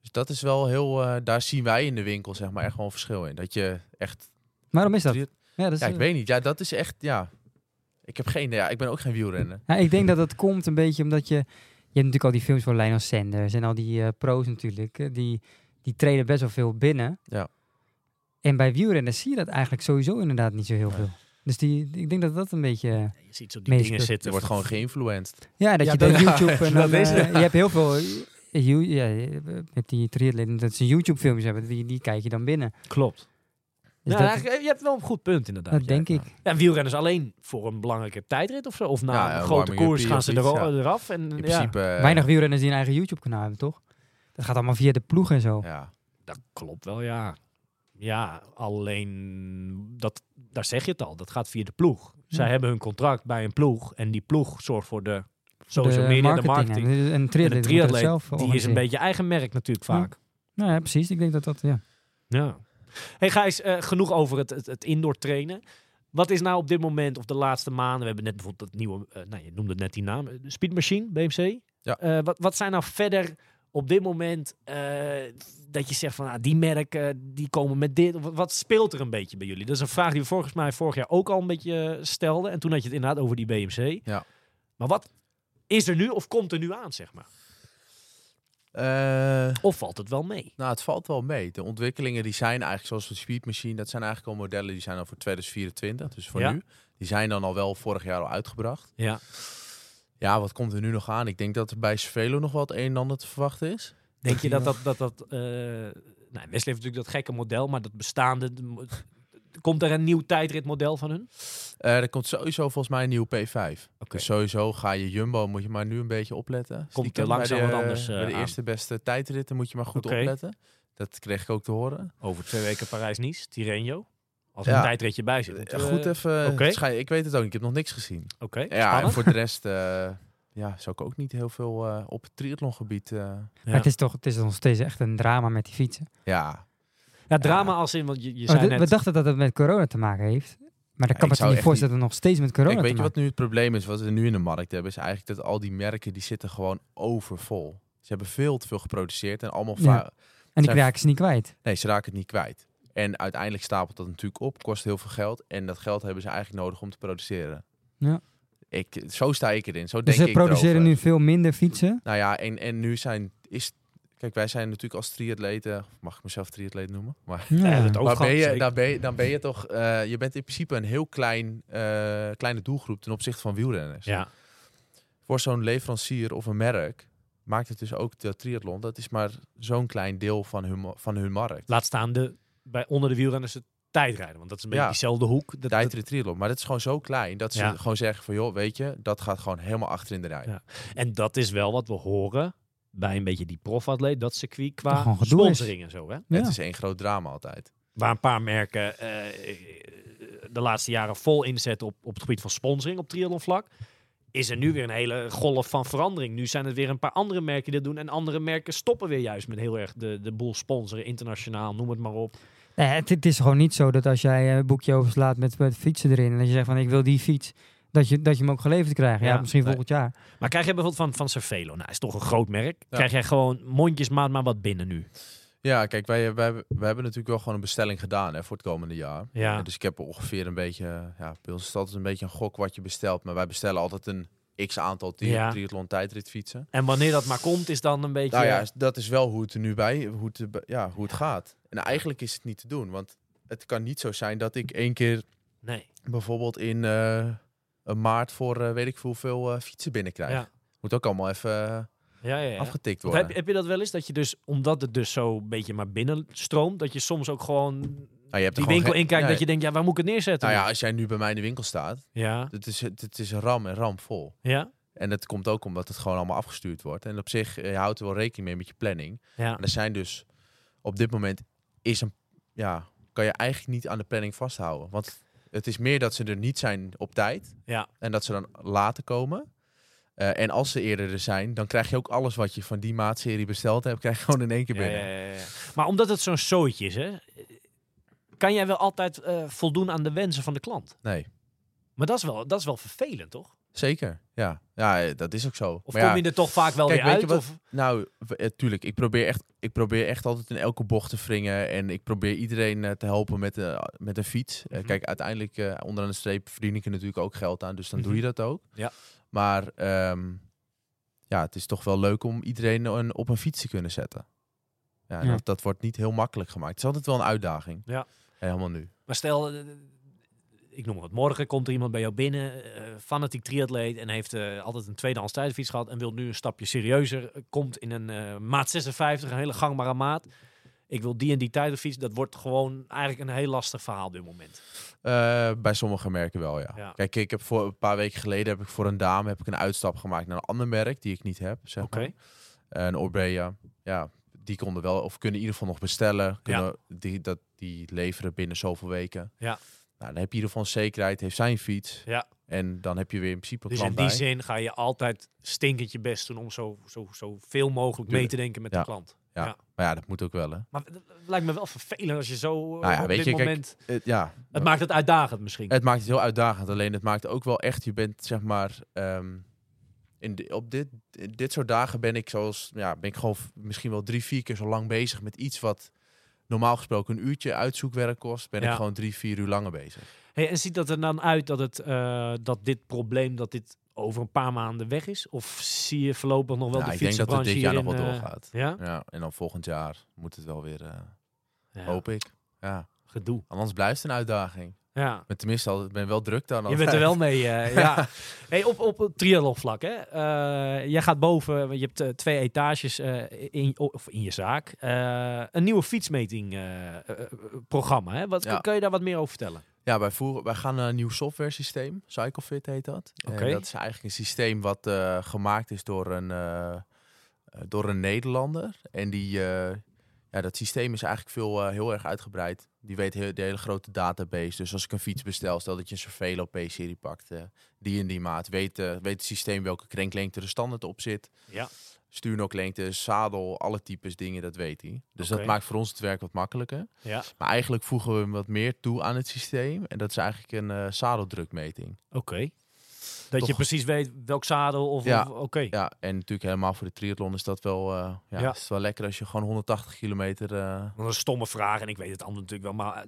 S4: Dus dat is wel heel, eh, daar zien wij in de winkel zeg maar echt wel een verschil in. Dat je echt,
S3: Waarom is dat?
S4: triat-
S3: Ja, dat is, eh,
S4: ja, ik weet niet, ja, dat is echt, ja. Ik heb geen ja, ik ben ook geen wielrenner.
S3: Ja, Nou, ik denk dat dat komt een beetje omdat je... Je hebt natuurlijk al die films van Lionel Sanders en al die eh, pro's natuurlijk. eh, die, die treden best wel veel binnen.
S4: Ja.
S3: En bij wielrenners zie je dat eigenlijk sowieso inderdaad niet zo heel
S4: Nee.
S3: veel. Dus die, ik denk dat dat een beetje... eh,
S1: Je ziet zo die
S3: Meester.
S1: dingen zitten.
S4: Je wordt gewoon geïnfluenced.
S3: Ja, dat
S1: Ja,
S3: je
S1: dat-
S3: dan YouTube...
S1: dat
S3: en dan, eh,
S1: is het.
S3: je hebt heel veel... eh, you- ja, eh, met die triatleten, dat ze YouTube-films hebben, die, die kijk je dan binnen.
S1: Klopt.
S3: Dus
S1: Ja, nou,
S3: dat,
S1: eigenlijk, eh, je hebt wel een goed punt inderdaad.
S3: dat
S1: ja.
S3: denk ik.
S1: Ja, wielrenners alleen voor een belangrijke tijdrit of zo. Of na
S4: Ja,
S1: een
S4: ja,
S1: grote
S4: warming-upie
S1: koers gaan
S4: of
S1: ze
S4: iets,
S1: er,
S4: ja.
S1: eraf. En,
S4: In
S1: ja,
S4: principe eh,
S3: Weinig wielrenners die een eigen YouTube-kanaal hebben, toch? Dat gaat allemaal via de ploeg en zo.
S4: Ja.
S1: Dat klopt wel, ja. Ja, alleen, dat, daar zeg je het al, dat gaat via de ploeg. Zij
S3: Ja.
S1: hebben hun contract bij een ploeg en die ploeg zorgt voor de social media, de marketing.
S3: En Dus een triatleet
S1: en een
S3: moet dat
S1: triatleet,
S3: zelf
S1: die is een
S3: organiseren.
S1: beetje eigen merk natuurlijk
S3: Ja.
S1: vaak.
S3: Nou ja, precies. Ik denk dat dat, ja.
S1: Ja. Hey Gijs, eh, genoeg over het, het, het indoor trainen. Wat is nou op dit moment of de laatste maanden? We hebben net bijvoorbeeld dat nieuwe, eh, nou je noemde net die naam, eh, de Speedmachine, BMC.
S4: Ja.
S1: Eh, wat, wat zijn nou verder op dit moment eh, dat je zegt van ah, die merken die komen met dit? Wat, wat speelt er een beetje bij jullie? Dat is een vraag die we volgens mij vorig jaar ook al een beetje eh, stelden. En toen had je het inderdaad over die BMC.
S4: Ja.
S1: Maar wat is er nu of komt er nu aan, zeg maar?
S4: Eh,
S1: Of valt het wel mee?
S4: Nou, het valt wel mee. De ontwikkelingen die zijn eigenlijk, zoals de Speed Machine, dat zijn eigenlijk al modellen die zijn al voor 2024, dus voor
S1: Ja.
S4: nu. Die zijn dan al wel vorig jaar al uitgebracht.
S1: Ja.
S4: Ja, wat komt er nu nog aan? Ik denk dat er bij Cervelo nog wel het een en ander te verwachten is.
S1: Denk je dat dat... dat, dat eh, nou, Wesley heeft natuurlijk dat gekke model, maar dat bestaande... de mo- Komt er een nieuw tijdritmodel van hun?
S4: Eh, er komt sowieso volgens mij een nieuw P5.
S1: Oké.
S4: Dus sowieso ga je Jumbo, moet je maar nu een beetje opletten. Stiekem
S1: er langzaam
S4: bij de,
S1: wat anders, eh,
S4: bij de
S1: aan.
S4: eerste beste tijdritten moet je maar goed
S1: Oké.
S4: opletten. Dat kreeg ik ook te horen.
S1: Over twee weken Parijs-Nice, Tirreno. Als er
S4: Ja.
S1: een tijdritje bij zit. moeten
S4: Eh,
S1: we-
S4: goed even,
S1: oké.
S4: schij- ik weet het ook, niet, ik heb nog niks gezien.
S1: Oké,
S4: Ja, en
S1: spannend.
S4: voor de rest eh, ja, zou ik ook niet heel veel eh, op het triathlongebied. eh
S1: Ja.
S3: Maar het is toch het is nog steeds echt een drama met die fietsen.
S4: ja,
S1: Ja, drama als in, want je, je
S3: Maar
S1: zei
S3: d-
S1: net...
S3: Oh, We dachten dat het met corona te maken heeft. Maar
S4: Ja,
S3: dan kan
S4: ik
S3: ik me
S4: zou
S3: toch
S4: echt
S3: niet voorstellen dat het nog steeds met corona
S4: Kijk,
S3: te
S4: weet je wat
S3: maken
S4: nu het probleem is? Wat we nu in de markt hebben, is eigenlijk dat al die merken die zitten gewoon overvol. Ze hebben veel te veel geproduceerd en allemaal. va-
S3: Ja. En die
S4: zijn-
S3: raken ze niet kwijt.
S4: Nee, ze raken het niet kwijt. En uiteindelijk stapelt dat natuurlijk op, kost heel veel geld. En dat geld hebben ze eigenlijk nodig om te produceren.
S3: Ja.
S4: Ik, zo sta ik erin. Zo
S3: Dus
S4: denk
S3: ze
S4: ik
S3: produceren
S4: erover.
S3: nu veel minder fietsen.
S4: Nou ja, en, en nu zijn. Is, kijk, wij zijn natuurlijk als triatleten. Mag ik mezelf triatleet noemen? Maar
S1: Ja,
S3: Ja.
S1: dat ook
S4: Maar
S1: gehad,
S4: ben
S1: eh,
S4: je,
S1: zeker.
S4: dan, ben je, dan ben je toch, eh, je bent in principe een heel klein, eh, kleine doelgroep ten opzichte van wielrenners.
S1: Ja,
S4: Voor zo'n leverancier of een merk maakt het dus ook de triathlon, dat is maar zo'n klein deel van hun, ma- van hun markt.
S1: laat staan de, bij onder de wielrenners het tijdrijden. Want dat is een beetje
S4: Ja.
S1: diezelfde hoek. Dat-
S4: De
S1: dat-
S4: tijd in de triathlon, maar dat is gewoon zo klein dat ze
S1: Ja.
S4: gewoon zeggen van joh, weet je, dat gaat gewoon helemaal achter in de rij.
S1: Ja. en dat is wel wat we horen bij een beetje die profatleet. Dat circuit qua
S3: gewoon gedoe is.
S1: sponsoring en zo, hè?
S3: Ja.
S4: Het is één groot drama altijd.
S1: Waar een paar merken eh, de laatste jaren vol inzetten op, op het gebied van sponsoring op triathlonvlak. Is er nu weer een hele golf van verandering. Nu zijn het weer een paar andere merken die dat doen. En andere merken stoppen weer juist met heel erg de, de boel sponsoren. Internationaal, noem het maar op.
S3: Nee, het, het is gewoon niet zo dat als jij eh, een boekje overslaat met, met fietsen erin. En dat je zegt van ik wil die fiets. Dat je, dat je hem ook geleverd krijgt. Ja,
S1: Ja,
S3: misschien
S4: nee.
S3: volgend jaar.
S1: Maar krijg je bijvoorbeeld van, van Cervelo. Nou, is toch een groot merk.
S4: Ja.
S1: Krijg jij gewoon mondjesmaat maar wat binnen nu.
S4: Ja, kijk, wij, wij, wij hebben natuurlijk wel gewoon een bestelling gedaan hè, voor het komende jaar.
S1: Ja.
S4: Eh, Dus ik heb ongeveer een beetje, ja, bij ons is het altijd een beetje een gok wat je bestelt. Maar wij bestellen altijd een x aantal tri-
S1: Ja.
S4: triathlon tijdritfietsen.
S1: En wanneer dat maar komt, is dan een beetje...
S4: Nou ja, dat is wel hoe het er nu bij, hoe het, er bij- ja, hoe het gaat. En eigenlijk is het niet te doen, want het kan niet zo zijn dat ik één keer
S1: Nee.
S4: bijvoorbeeld in eh, een maart voor eh, weet ik veel hoeveel eh, fietsen binnenkrijg.
S1: Ja.
S4: Moet ook allemaal even eh,
S1: Ja, ja, ja.
S4: afgetikt
S1: Want
S4: worden.
S1: Heb, heb je dat wel eens? Dat je dus, omdat het dus zo een beetje maar binnenstroomt, dat je soms ook gewoon
S4: Nou, je hebt er
S1: die
S4: gewoon
S1: winkel
S4: geen-
S1: inkijkt
S4: Nee.
S1: dat je denkt, ja, waar moet ik het neerzetten?
S4: Nou ja, als jij nu bij mij in de winkel staat,
S1: ja.
S4: het is, het is ram en ram vol.
S1: Ja,
S4: En dat komt ook omdat het gewoon allemaal afgestuurd wordt. En op zich, eh, je houdt er wel rekening mee met je planning.
S1: ja.
S4: En er zijn dus, op dit moment is een, ja, kan je eigenlijk niet aan de planning vasthouden. Want het is meer dat ze er niet zijn op tijd.
S1: Ja.
S4: En dat ze dan later komen. Eh, en als ze eerder er zijn, dan krijg je ook alles wat je van die maatserie besteld hebt, krijg je gewoon in één keer
S1: Ja,
S4: binnen.
S1: ja, ja, ja. Maar omdat het zo'n zootje is, hè, kan jij wel altijd eh, voldoen aan de wensen van de klant.
S4: Nee,
S1: Maar dat is wel, dat is wel vervelend, toch?
S4: Zeker, ja. Ja, eh, dat is ook zo.
S1: Of
S4: Maar
S1: kom
S4: ja,
S1: je er toch vaak wel
S4: Kijk,
S1: weer
S4: weet
S1: uit?
S4: je wat-
S1: of,
S4: Nou, w- eh, tuurlijk. Ik probeer, echt, ik probeer echt altijd in elke bocht te wringen. En ik probeer iedereen eh, te helpen met, eh, met een fiets. Eh,
S1: Mhm.
S4: kijk, uiteindelijk eh, onderaan de streep verdien ik er natuurlijk ook geld aan. Dus dan
S1: Mhm.
S4: doe je dat ook.
S1: Ja.
S4: Maar ehm, ja, het is toch wel leuk om iedereen een- op een fiets te kunnen zetten. Ja, en
S3: Ja.
S4: Dat, dat wordt niet heel makkelijk gemaakt. Het is altijd wel een uitdaging.
S1: Ja.
S4: Helemaal nu.
S1: Maar stel, eh, ik noem wat, morgen komt er iemand bij jou binnen, eh, fanatiek triatleet en heeft eh, altijd een tweedehands tijdfiets gehad en wil nu een stapje serieuzer, eh, komt in een eh, maat 56, een hele gangbare maat. Ik wil die en die tijdenfiets. Dat wordt gewoon eigenlijk een heel lastig verhaal op dit moment.
S4: Eh, bij sommige merken wel, ja.
S1: Ja.
S4: Kijk, ik heb voor een paar weken geleden heb ik voor een dame heb ik een uitstap gemaakt naar een ander merk die ik niet heb. Zeg
S1: Oké.
S4: maar. En Orbea, ja, die konden wel, of kunnen in ieder geval nog bestellen. Kunnen, die, dat, die leveren binnen zoveel weken.
S1: Ja.
S4: Nou, dan heb je in ieder geval een zekerheid, heeft zijn fiets.
S1: Ja.
S4: En dan heb je weer in principe een
S1: Dus in
S4: klant
S1: die
S4: bij.
S1: zin ga je altijd stinkend je best doen om zo, zo, zo veel mogelijk mee
S4: Tuurlijk.
S1: te denken met
S4: Ja.
S1: de klant.
S4: Maar ja, dat moet ook wel, hè.
S1: Maar het het lijkt me wel vervelend als je zo eh,
S4: Nou ja,
S1: op
S4: weet
S1: dit
S4: je, kijk,
S1: moment...
S4: Eh, ja. Eh.
S1: het maakt het uitdagend misschien.
S4: Het maakt het heel uitdagend. Alleen het maakt ook wel echt, je bent zeg maar. ehm, in de- op dit, in dit soort dagen ben ik zoals. Ja, ben ik gewoon v- misschien wel drie, vier keer zo lang bezig met iets wat normaal gesproken een uurtje uitzoekwerk kost. Ben
S1: Ja.
S4: ik gewoon drie, vier uur langer bezig.
S1: Hey, en ziet dat er dan uit dat, het, eh, dat dit probleem dat dit over een paar maanden weg is? Of zie je voorlopig nog wel
S4: Nou,
S1: de
S4: ik denk dat het
S1: fietsenbranche
S4: dit jaar nog wel
S1: hierin, eh,
S4: doorgaat.
S1: ja?
S4: Ja, en dan volgend jaar moet het wel weer. eh,
S1: ja,
S4: Hoop ik. Ja.
S1: gedoe.
S4: Anders blijft het een uitdaging.
S1: Ja.
S4: Maar tenminste, al- ik ben wel druk dan.
S1: Je bent er wel mee, eh, ja. Hey, op, op het triathlonvlak, hè. Eh, jij gaat boven, want je hebt eh, twee etages eh, in, of in je zaak. Eh, een nieuwe fietsmeting eh, eh, eh, programma, hè. Wat,
S4: Ja.
S1: Kan je daar wat meer over vertellen?
S4: Ja, wij, voeren, wij gaan naar een nieuw software systeem. CycleFit heet dat.
S1: Oké.
S4: En dat is eigenlijk een systeem wat eh, gemaakt is door een, eh, eh, door een Nederlander. En die, eh, ja, dat systeem is eigenlijk veel, eh, heel erg uitgebreid. Die weet heel, de hele grote database. Dus als ik een fiets bestel, stel dat je een Cervelo P-serie pakt. eh, die in die maat. Weet, eh, weet het systeem welke krenklengte er standaard op zit.
S1: Ja.
S4: Stuurnoklengte, zadel, alle types dingen, dat weet hij. Dus
S1: Oké.
S4: dat maakt voor ons het werk wat makkelijker.
S1: Ja,
S4: Maar eigenlijk voegen we hem wat meer toe aan het systeem. En dat is eigenlijk een eh, zadeldrukmeting.
S1: oké. Dat je
S4: Toch-
S1: precies weet welk zadel of...
S4: Ja.
S1: of- oké.
S4: Ja, en natuurlijk helemaal voor de triathlon is dat wel, eh, ja,
S1: Ja.
S4: Is het wel lekker als je gewoon 180 kilometer... eh,
S1: Wat een stomme vraag, en ik weet het andere natuurlijk wel, maar eh,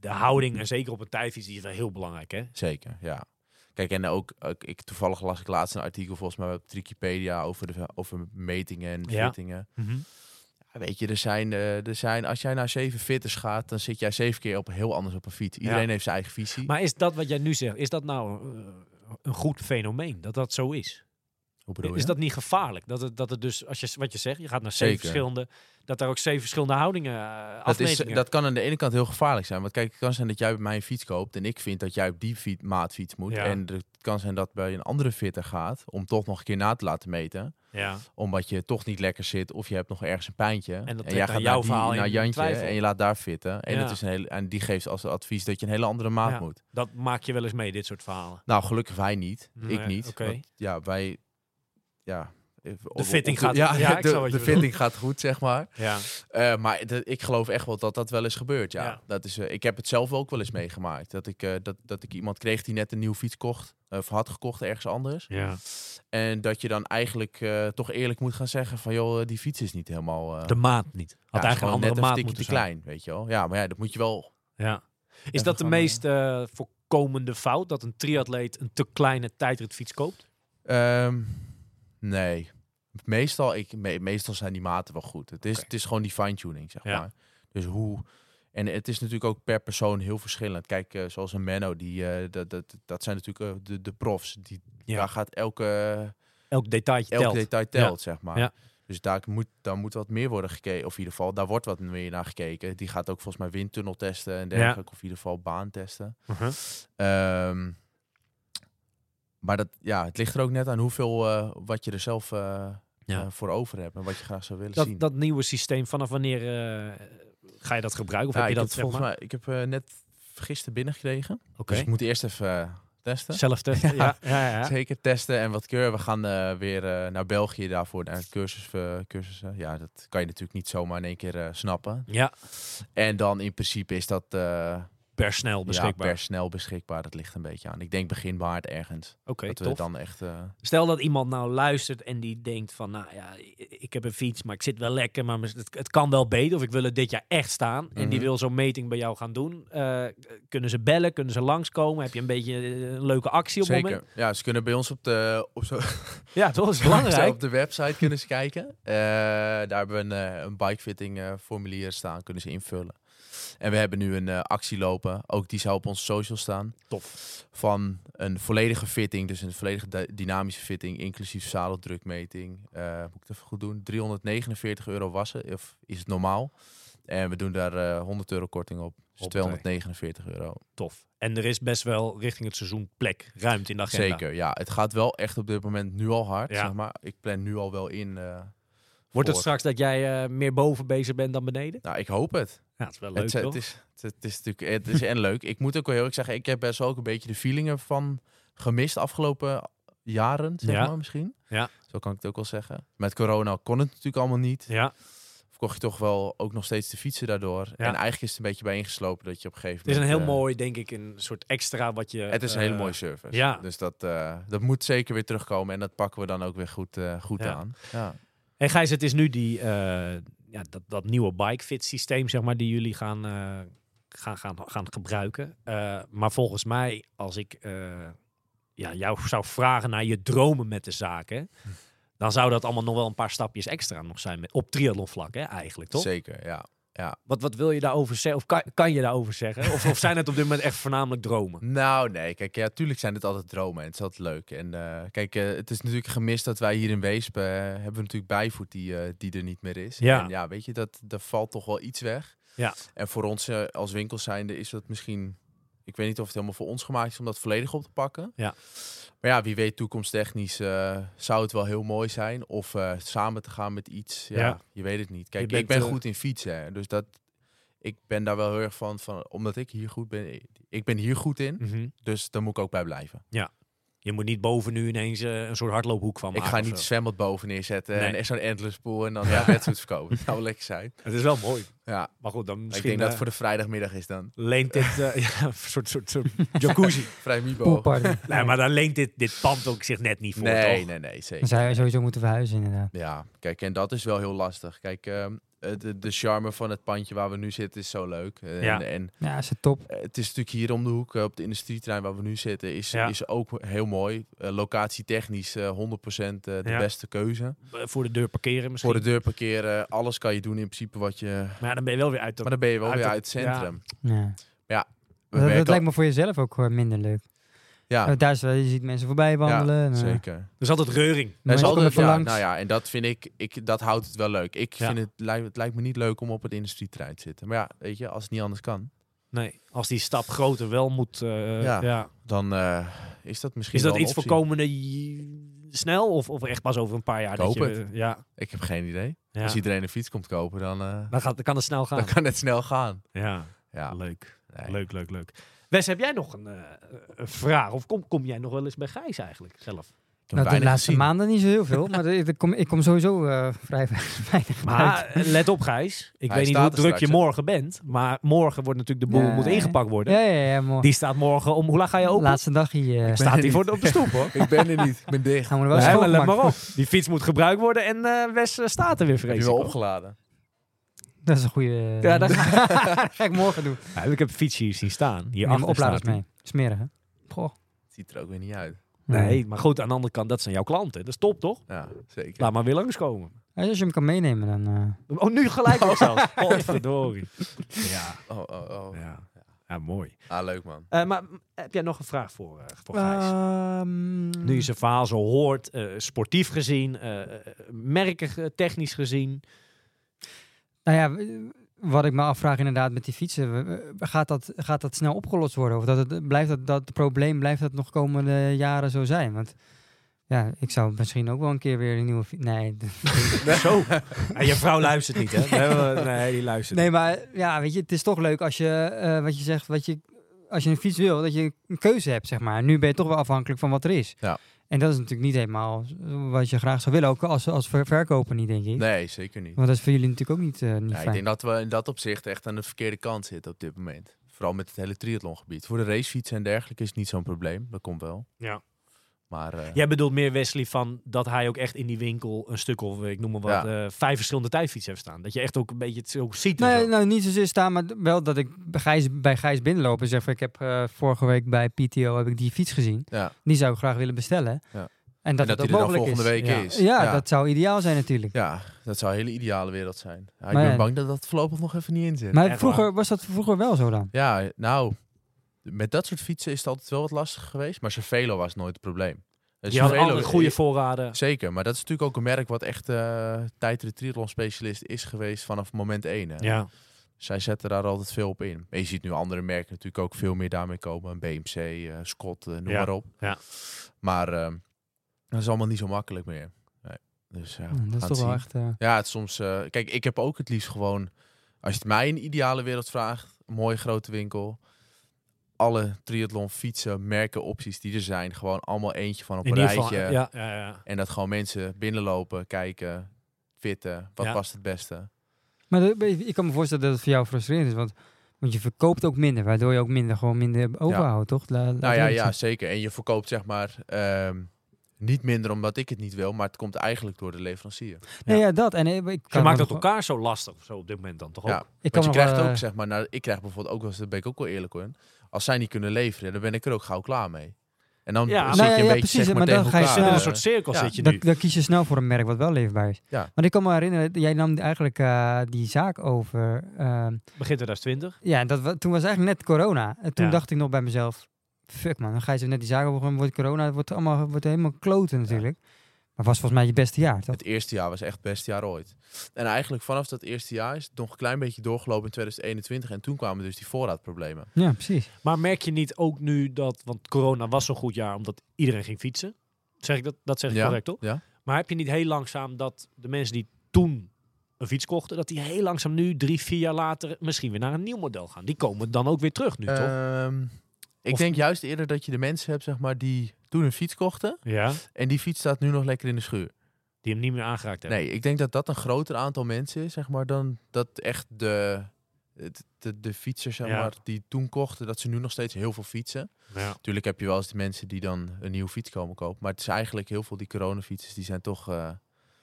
S1: de houding, en zeker op een tijdfiets, die is wel heel belangrijk, hè?
S4: zeker, ja. Kijk, en ook, ook ik, toevallig las ik laatst een artikel volgens mij op Wikipedia over, de, over metingen en
S1: Ja.
S4: fittingen.
S1: Mhm.
S4: Ja, weet je, er zijn, eh, er zijn, als jij naar zeven fitters gaat, dan zit jij zeven keer op heel anders op een fiets. Iedereen heeft zijn eigen visie.
S1: Maar is dat wat jij nu zegt, is dat nou eh, een goed fenomeen, dat dat zo is?
S4: Hoe bedoel
S1: Is
S4: je?
S1: dat niet gevaarlijk? Dat het, dat het dus, als je, wat je zegt, je gaat naar zeven
S4: Zeker.
S1: verschillende, dat daar ook zeven verschillende houdingen, eh
S4: Dat, is,
S1: afmetingen...
S4: dat kan aan de ene kant heel gevaarlijk zijn. Want kijk, het kan zijn dat jij bij mij een fiets koopt en ik vind dat jij op die fiets, maat fiets moet.
S1: Ja.
S4: En het kan zijn dat bij een andere fitter gaat om toch nog een keer na te laten meten.
S1: ja,
S4: Omdat je toch niet lekker zit of je hebt nog ergens een pijntje. En,
S1: trekt
S4: jij
S1: dan jouw
S4: naar, die-
S1: verhaal in
S4: naar Jantje
S1: twijfel.
S4: en je laat daar fitten. En,
S1: Ja.
S4: dat is een hele, en die geeft als advies dat je een hele andere maat
S1: Ja.
S4: moet.
S1: dat maak je wel eens mee, dit soort verhalen.
S4: Nou, gelukkig wij niet.
S1: Nee,
S4: ik niet.
S1: oké.
S4: Want, ja, wij... Ja, de
S1: fitting gaat-
S4: Ja,
S1: ja, ik
S4: de,
S1: snap wat je
S4: de
S1: bedoelt.
S4: fitting gaat goed, zeg maar.
S1: Ja,
S4: Eh, maar de- ik geloof echt wel dat dat wel eens gebeurt. Ja.
S1: Ja.
S4: Dat is, eh, ik heb het zelf ook wel eens meegemaakt. Dat ik, eh, dat, dat ik iemand kreeg die net een nieuwe fiets kocht. eh, Of had gekocht ergens anders.
S1: ja.
S4: En dat je dan eigenlijk eh, toch eerlijk moet gaan zeggen: van joh, eh, die fiets is niet helemaal. eh,
S1: De maat niet.
S4: ja,
S1: Had
S4: is
S1: eigenlijk
S4: gewoon
S1: een
S4: net
S1: andere
S4: een
S1: maat
S4: stukje
S1: moeten
S4: te
S1: zijn.
S4: klein, weet je wel. Ja, maar ja, dat moet je wel.
S1: Ja. Is
S4: Even
S1: dat de
S4: gaan, eh,
S1: meest eh, voorkomende fout, dat een triatleet een te kleine tijdritfiets koopt?
S4: Ehm, nee. Meestal, ik, me- meestal zijn die maten wel goed. Het is,
S1: Oké.
S4: het is gewoon die fine-tuning, zeg
S1: Ja.
S4: maar. Dus hoe... En het is natuurlijk ook per persoon heel verschillend. Kijk, eh, zoals een Menno, die, eh, dat, dat, dat zijn natuurlijk eh, de, de profs. Die,
S1: Ja.
S4: Daar gaat elke,
S1: Elk detailje
S4: elk
S1: telt.
S4: detail telt, zeg maar.
S1: Ja.
S4: Dus daar moet, daar moet wat meer worden gekeken. Of in ieder geval, daar wordt wat meer naar gekeken. Die gaat ook volgens mij windtunnel testen en dergelijke. Of in ieder geval baan testen.
S1: Mhm.
S4: Ehm, maar dat, ja, het ligt er ook net aan hoeveel eh, wat je er zelf eh, eh, voor over hebt en wat je graag zou willen zien.
S1: dat, dat nieuwe systeem, vanaf wanneer eh, ga je dat gebruiken? Of
S4: Ja,
S1: heb je
S4: ik,
S1: dat
S4: heb
S1: zeg
S4: volgens
S1: maar?
S4: mij, ik heb eh, net gisteren binnengekregen.
S1: Oké.
S4: Dus ik moet eerst even eh, testen.
S1: Zelf testen. Ja, ja, ja.
S4: Zeker testen en wat keur. We gaan eh, weer eh, naar België daarvoor, naar cursus, eh, cursussen. Ja, dat kan je natuurlijk niet zomaar in één keer eh, snappen.
S1: Ja,
S4: En dan in principe is dat, eh,
S1: per snel beschikbaar.
S4: Ja, per snel beschikbaar. Dat ligt een beetje aan. Ik denk begin maart ergens.
S1: Oké,
S4: dat we
S1: tof.
S4: het dan echt... eh,
S1: Stel dat iemand nou luistert en die denkt van, nou ja, i- ik heb een fiets, maar ik zit wel lekker, maar het, het kan wel beter. Of ik wil het dit jaar echt staan. En die
S4: Mhm.
S1: wil zo'n meting bij jou gaan doen. Eh, kunnen ze bellen? Kunnen ze langskomen? Heb je een beetje eh, een leuke actie op het
S4: zeker.
S1: moment?
S4: Ja, ze kunnen bij ons op de... Op zo,
S1: Ja, toch? Dat is belangrijk.
S4: op de website kunnen ze kijken. Eh, daar hebben we een, eh, een bikefitting eh, formulier staan. Kunnen ze invullen. En we hebben nu een eh, actie lopen. Ook die zou op onze social staan.
S1: Tof.
S4: Van een volledige fitting. Dus een volledige dy- dynamische fitting. Inclusief zadeldrukmeting. Eh, moet ik het even goed doen? 349 euro wassen. Of is het normaal? En we doen daar eh, 100 euro korting op. Dus
S1: Hoppatee.
S4: 249 euro.
S1: Tof. En er is best wel richting het seizoen plek, ruimte in de agenda.
S4: Zeker, ja. Het gaat wel echt op dit moment nu al hard,
S1: Ja.
S4: zeg maar. Ik plan nu al wel in. eh,
S1: Wordt het
S4: voor-
S1: straks dat jij eh, meer boven bezig bent dan beneden?
S4: Nou, ik hoop het.
S1: Ja, dat is wel leuk,
S4: Het, eh,
S1: toch?
S4: het, is, het, het is natuurlijk eh, het is en leuk. Ik moet ook wel heel erg zeggen, ik heb best wel ook een beetje de feelingen van gemist afgelopen jaren, zeg
S1: Ja.
S4: maar misschien.
S1: Ja.
S4: Zo kan ik het ook wel zeggen. Met corona kon het natuurlijk allemaal niet.
S1: Ja,
S4: Verkocht je toch wel ook nog steeds de fietsen daardoor. En eigenlijk is het een beetje bijeengeslopen dat je op een gegeven
S1: het is een
S4: moment...
S1: heel
S4: eh,
S1: mooi, denk ik, een soort extra wat je...
S4: Het is een hele
S1: eh,
S4: mooie service.
S1: ja.
S4: Dus dat, eh, dat moet zeker weer terugkomen. En dat pakken we dan ook weer goed, eh, goed
S1: Ja.
S4: aan. Ja.
S1: En Gijs, het is nu die, eh, ja, dat, dat nieuwe bikefit systeem, zeg maar, die jullie gaan, eh, gaan, gaan, gaan gebruiken. Eh, maar volgens mij, als ik eh, ja, jou zou vragen naar je dromen met de zaken, dan zou dat allemaal nog wel een paar stapjes extra nog zijn met, op triathlonvlak, hè, eigenlijk, toch?
S4: Zeker, ja.
S1: Wat, wat wil je daarover zeggen? Of kan, kan je daarover zeggen? Of, of zijn het op dit moment echt voornamelijk dromen?
S4: Nou, nee, kijk, ja, tuurlijk zijn het altijd dromen en het is altijd leuk. En eh, kijk, eh, het is natuurlijk gemist dat wij hier in Weesp eh, hebben we natuurlijk bijvoet die, eh, die er niet meer is.
S1: Ja.
S4: En ja, weet je, dat, dat valt toch wel iets weg.
S1: Ja.
S4: En voor ons eh, als winkel zijnde is dat misschien, ik weet niet of het helemaal voor ons gemaakt is om dat volledig op te pakken.
S1: Ja.
S4: Maar ja, wie weet toekomsttechnisch eh, zou het wel heel mooi zijn. Of eh, samen te gaan met iets, ja,
S1: Ja.
S4: je weet het niet.
S1: Je
S4: Kijk,
S1: bent,
S4: ik ben
S1: eh,
S4: goed in fietsen, hè, dus dat... Ik ben daar wel heel erg van, van, omdat ik hier goed ben. Ik ben hier goed in. Dus daar moet ik ook bij
S1: Oh,
S4: blijven.
S1: Je moet niet boven nu ineens eh, een soort hardloophoek van
S4: ik
S1: maken.
S4: ga
S1: of
S4: niet
S1: zo.
S4: zwembad boven neerzetten
S1: Nee.
S4: en echt zo'n endless pool en dan ja, wedstrijd verkopen. Dat zou wel lekker zijn.
S1: Het is wel mooi.
S4: Ja,
S1: Maar goed, dan
S4: ik
S1: misschien
S4: denk dat het
S1: eh,
S4: voor de vrijdagmiddag is dan.
S1: leent dit eh, ja, een soort, soort, soort jacuzzi.
S4: Vrij Mibo.
S3: Poolparty.
S1: Nee, maar daar leent dit, dit pand ook zich net niet voor.
S4: Nee,
S1: toch?
S4: nee, nee, zeker.
S3: Dan zou je sowieso moeten verhuizen inderdaad.
S4: Ja, kijk, en dat is wel heel lastig. Kijk, ehm, eh, de, de charme van het pandje waar we nu zitten is zo leuk. En,
S1: Ja.
S4: en
S3: Ja, is het top.
S4: eh, het is natuurlijk hier om de hoek, eh, op de industrietrein waar we nu zitten, is,
S1: Ja.
S4: is ook heel mooi. Eh, locatietechnisch eh, 100% eh, de
S1: Ja.
S4: beste keuze.
S1: Eh, Voor de deur parkeren misschien.
S4: Voor de deur parkeren, alles kan je doen in principe wat je...
S1: Maar ja, dan ben je wel weer uit. de-
S4: Maar dan ben je wel
S1: uit
S4: weer
S1: het-
S4: uit het centrum.
S3: Ja.
S4: We
S3: Dat, dat
S4: werken-
S3: lijkt me voor jezelf ook eh, minder leuk.
S4: Ja,
S3: Eh, Daar is wel, je ziet mensen voorbij wandelen. en, eh,
S4: zeker.
S1: Er is altijd reuring.
S4: Er is
S3: mensen
S4: altijd,
S3: komen
S4: ja,
S3: langs.
S4: nou ja, en dat vind ik, ik, dat houdt het wel leuk. Ik
S1: Ja.
S4: vind het, lijkt, het lijkt me niet leuk om op het industrietrein te zitten. Maar ja, weet je, als het niet anders kan,
S1: Nee, als die stap groter wel moet... eh, ja.
S4: Ja. dan eh, is dat misschien
S1: Is dat
S4: wel een
S1: iets voor
S4: optie.
S1: komende j- snel? Of, of echt pas over een paar jaar?
S4: Ik
S1: dat
S4: hoop
S1: je, Ja,
S4: Ik heb geen idee.
S1: ja. Nou.
S4: Als iedereen een fiets komt kopen, dan, eh,
S1: Dan, gaat, dan kan het snel gaan.
S4: dan kan het snel gaan.
S1: Ja,
S4: Ja,
S1: leuk.
S4: nee.
S1: Leuk, leuk, leuk. Wes, heb jij nog een, eh, een vraag? Of kom, kom jij nog wel eens bij Gijs eigenlijk zelf?
S4: Ik heb
S3: Nou, de
S4: weinig
S3: laatste
S4: gezien.
S3: maanden niet zo heel veel, maar de- ik kom, ik kom sowieso eh, vrij weinig uit.
S1: Maar eh, let op, Gijs. Ik
S4: Hij
S1: weet niet
S4: staat
S1: hoe
S4: er
S1: druk je
S4: straks, hè?
S1: morgen bent. Maar morgen wordt natuurlijk de boel
S3: Nee.
S1: moet ingepakt worden.
S3: Ja, ja, ja, mooi.
S1: Die staat morgen om. Hoe laat ga je open?
S3: Laatste dag hier. eh,
S1: Staat
S4: ben
S1: die
S4: er
S1: voor op de stoep hoor.
S4: Ik ben er niet, ik ben dicht.
S3: gaan we er wel
S1: Nee, maar let
S3: schoongemaakt
S1: maar
S3: voor.
S1: op. Die fiets moet gebruikt worden en eh, Wes eh, staat er weer
S4: Heb je wel
S1: vreselijk. op.
S4: opgeladen?
S3: Dat is een goede.
S1: Ja, dat
S3: ga ik morgen doen.
S1: Ja, ik heb een fiets hier zien staan. Hier
S3: Neem mijn
S1: achter
S3: opladers
S1: staat die.
S3: mee. Smerig, hè? Goh.
S4: Het ziet er ook weer niet uit.
S1: Nee, maar goed, aan de andere kant, dat zijn jouw klanten. Dat is top, toch?
S4: Ja, zeker.
S1: Laat maar weer langskomen.
S3: Ja, Als je hem kan meenemen, dan. eh,
S1: Oh, nu gelijk ook zelfs. Godverdorie. Ja,
S4: Oh, oh, oh.
S1: ja. ja mooi.
S4: Ah, leuk man.
S1: Eh, maar m- heb jij nog een vraag voor, eh, voor Gijs?
S3: ehm,
S1: Nu je zijn verhaal zo hoort, eh, sportief gezien, eh eh, merken ge- technisch gezien.
S3: Nou ja, w- wat ik me afvraag inderdaad met die fietsen. w- w- Gaat dat, gaat dat snel opgelost worden? Of dat het, blijft dat, dat probleem blijft dat nog komende jaren zo zijn? Want ja, ik zou misschien ook wel een keer weer een nieuwe fiets... Nee,
S1: Zo. En je vrouw luistert niet, hè? Nee, nee, die luistert
S3: nee, maar ja, weet je, het is toch leuk als je, eh, wat je zegt, wat je, als je een fiets wil, dat je een keuze hebt, zeg maar. Nu ben je toch wel afhankelijk van wat er is.
S4: Ja.
S3: En dat is natuurlijk niet helemaal wat je graag zou willen, ook als, als ver- verkoper niet, denk ik.
S4: Nee, zeker niet.
S3: Want dat is voor jullie natuurlijk ook niet, eh, niet
S4: Ja, ik
S3: Oh, fijn.
S4: denk dat we in dat opzicht echt aan de verkeerde kant zitten op dit moment. Vooral met het hele triathlongebied. Voor de racefietsen en dergelijke is het niet zo'n probleem. Dat komt wel.
S1: Ja.
S4: Maar eh,
S1: Jij bedoelt meer Wesley van dat hij ook echt in die winkel een stuk of eh, ik noem maar wat, eh, vijf verschillende tijdfietsen heeft staan. Dat je echt ook een beetje het zo ziet. en
S3: Nee,
S1: zo.
S3: nou, niet zozeer staan, maar wel dat ik bij Gijs, bij Gijs binnenloop en zeg van, ik heb eh, vorige week bij PTO heb ik die fiets gezien.
S4: ja.
S3: Die zou ik graag willen bestellen.
S4: Ja.
S3: En
S4: En
S3: dat,
S4: dat
S3: het
S4: hij
S3: ook
S4: er dan
S3: mogelijk
S4: volgende
S3: is.
S4: week
S1: Ja.
S4: is.
S3: Ja,
S4: ja.
S3: dat zou ideaal zijn natuurlijk.
S4: Ja, dat zou een hele ideale wereld zijn. Ja, ik
S3: Maar
S4: ben
S3: ja.
S4: bang dat dat voorlopig nog even niet in zit.
S3: Maar
S1: Echt
S3: vroeger
S1: waar.
S3: was dat vroeger wel zo dan.
S4: Ja, nou, met dat soort fietsen is het altijd wel wat lastig geweest. Maar Cervelo was nooit het probleem.
S1: je had altijd goede voorraden.
S4: Zeker, maar dat is natuurlijk ook een merk wat echt eh tijdrit triathlon specialist is geweest vanaf moment 1.
S1: Ja.
S4: Zij zetten daar altijd veel op in. En je ziet nu andere merken natuurlijk ook veel meer daarmee komen. Een BMC, eh, Scott, eh, noem
S1: Ja,
S4: maar op.
S1: ja.
S4: Maar ehm, dat is allemaal niet zo makkelijk meer. Nee. Dus, ja,
S3: Hm,
S4: we
S3: dat is
S4: gaan
S3: toch
S4: zien.
S3: wel echt... eh,
S4: Ja, het is soms. eh, kijk, ik heb ook het liefst gewoon. Als je het mij een ideale wereld vraagt, een mooie grote winkel. Alle triathlon fietsen, merken, opties die er zijn. Gewoon allemaal eentje van op
S1: In
S4: een
S1: ieder
S4: rijtje.
S1: geval. Ja, ja, ja.
S4: En dat gewoon mensen binnenlopen, kijken, fitten. Wat
S1: Ja.
S4: past het beste?
S3: Maar dat- ik kan me voorstellen dat het voor jou frustrerend is, want, want je verkoopt ook minder, waardoor je ook minder, gewoon minder overhoudt, toch? La- laat
S4: Nou ja,
S3: eerlijk
S4: ja,
S3: zijn.
S4: zeker. En je verkoopt zeg maar ehm, niet minder omdat ik het niet wil. Maar het komt eigenlijk door de leverancier.
S3: Nee, ja, dat. En eh, ik kan
S1: Je
S3: me
S1: maakt
S3: nog-
S1: het elkaar zo lastig of zo op dit moment dan toch
S4: Ja.
S1: ook?
S3: ik kan
S4: Want je
S3: nog
S4: krijgt
S3: wel,
S4: ook,
S3: eh,
S4: zeg maar, nou, ik krijg bijvoorbeeld ook wel eens, daar ben ik ook wel eerlijk in. Als zij niet kunnen leveren, dan ben ik er ook gauw klaar mee. En dan
S1: Ja. Nou
S4: zit je
S3: ja,
S4: een
S3: ja,
S4: beetje
S3: precies,
S4: zeg maar,
S3: maar dan
S4: tegen
S3: ga je
S4: elkaar,
S3: snel
S1: in
S3: Ja.
S1: een
S4: eh,
S1: soort cirkel
S4: Ja.
S1: zit je
S3: dan,
S1: nu.
S3: dan kies je snel voor een merk wat wel leefbaar is.
S4: Ja.
S3: Want ik kan me herinneren, jij nam eigenlijk eh, die zaak over. ehm,
S1: Begin 2020.
S3: ja, dat, wa- toen was eigenlijk net corona. En toen
S1: Ja.
S3: dacht ik nog bij mezelf, fuck man, dan ga je zo net die zaak over, wordt corona, het wordt, allemaal, wordt helemaal kloten natuurlijk. Maar was volgens mij je beste jaar, toch?
S4: Het eerste jaar was echt het beste jaar ooit. En eigenlijk vanaf dat eerste jaar is het nog een klein beetje doorgelopen in 2021. En toen kwamen dus die voorraadproblemen.
S3: Ja, precies.
S1: Maar merk je niet ook nu dat, want corona was zo'n goed jaar omdat iedereen ging fietsen. Zeg ik dat, dat zeg ik
S4: ja,
S1: correct toch?
S4: Ja.
S1: Maar heb je niet heel langzaam dat de mensen die toen een fiets kochten, dat die heel langzaam nu, drie, vier jaar later, misschien weer naar een nieuw model gaan? Die komen dan ook weer terug nu, toch?
S4: Ehm, ik
S1: Of-
S4: denk juist eerder dat je de mensen hebt, zeg maar, die toen een fiets kochten.
S1: Ja.
S4: En die fiets staat nu nog lekker in de schuur.
S1: Die hem niet meer aangeraakt hebben.
S4: Nee, ik denk dat dat een groter aantal mensen is, zeg maar, dan dat echt de, het- de, de fietsers, zeg
S1: Ja.
S4: maar, die toen kochten, dat ze nu nog steeds heel veel fietsen.
S1: Ja.
S4: Natuurlijk heb je wel eens die mensen die dan een nieuwe fiets komen kopen, maar het is eigenlijk heel veel die coronafietsers, die zijn toch, eh,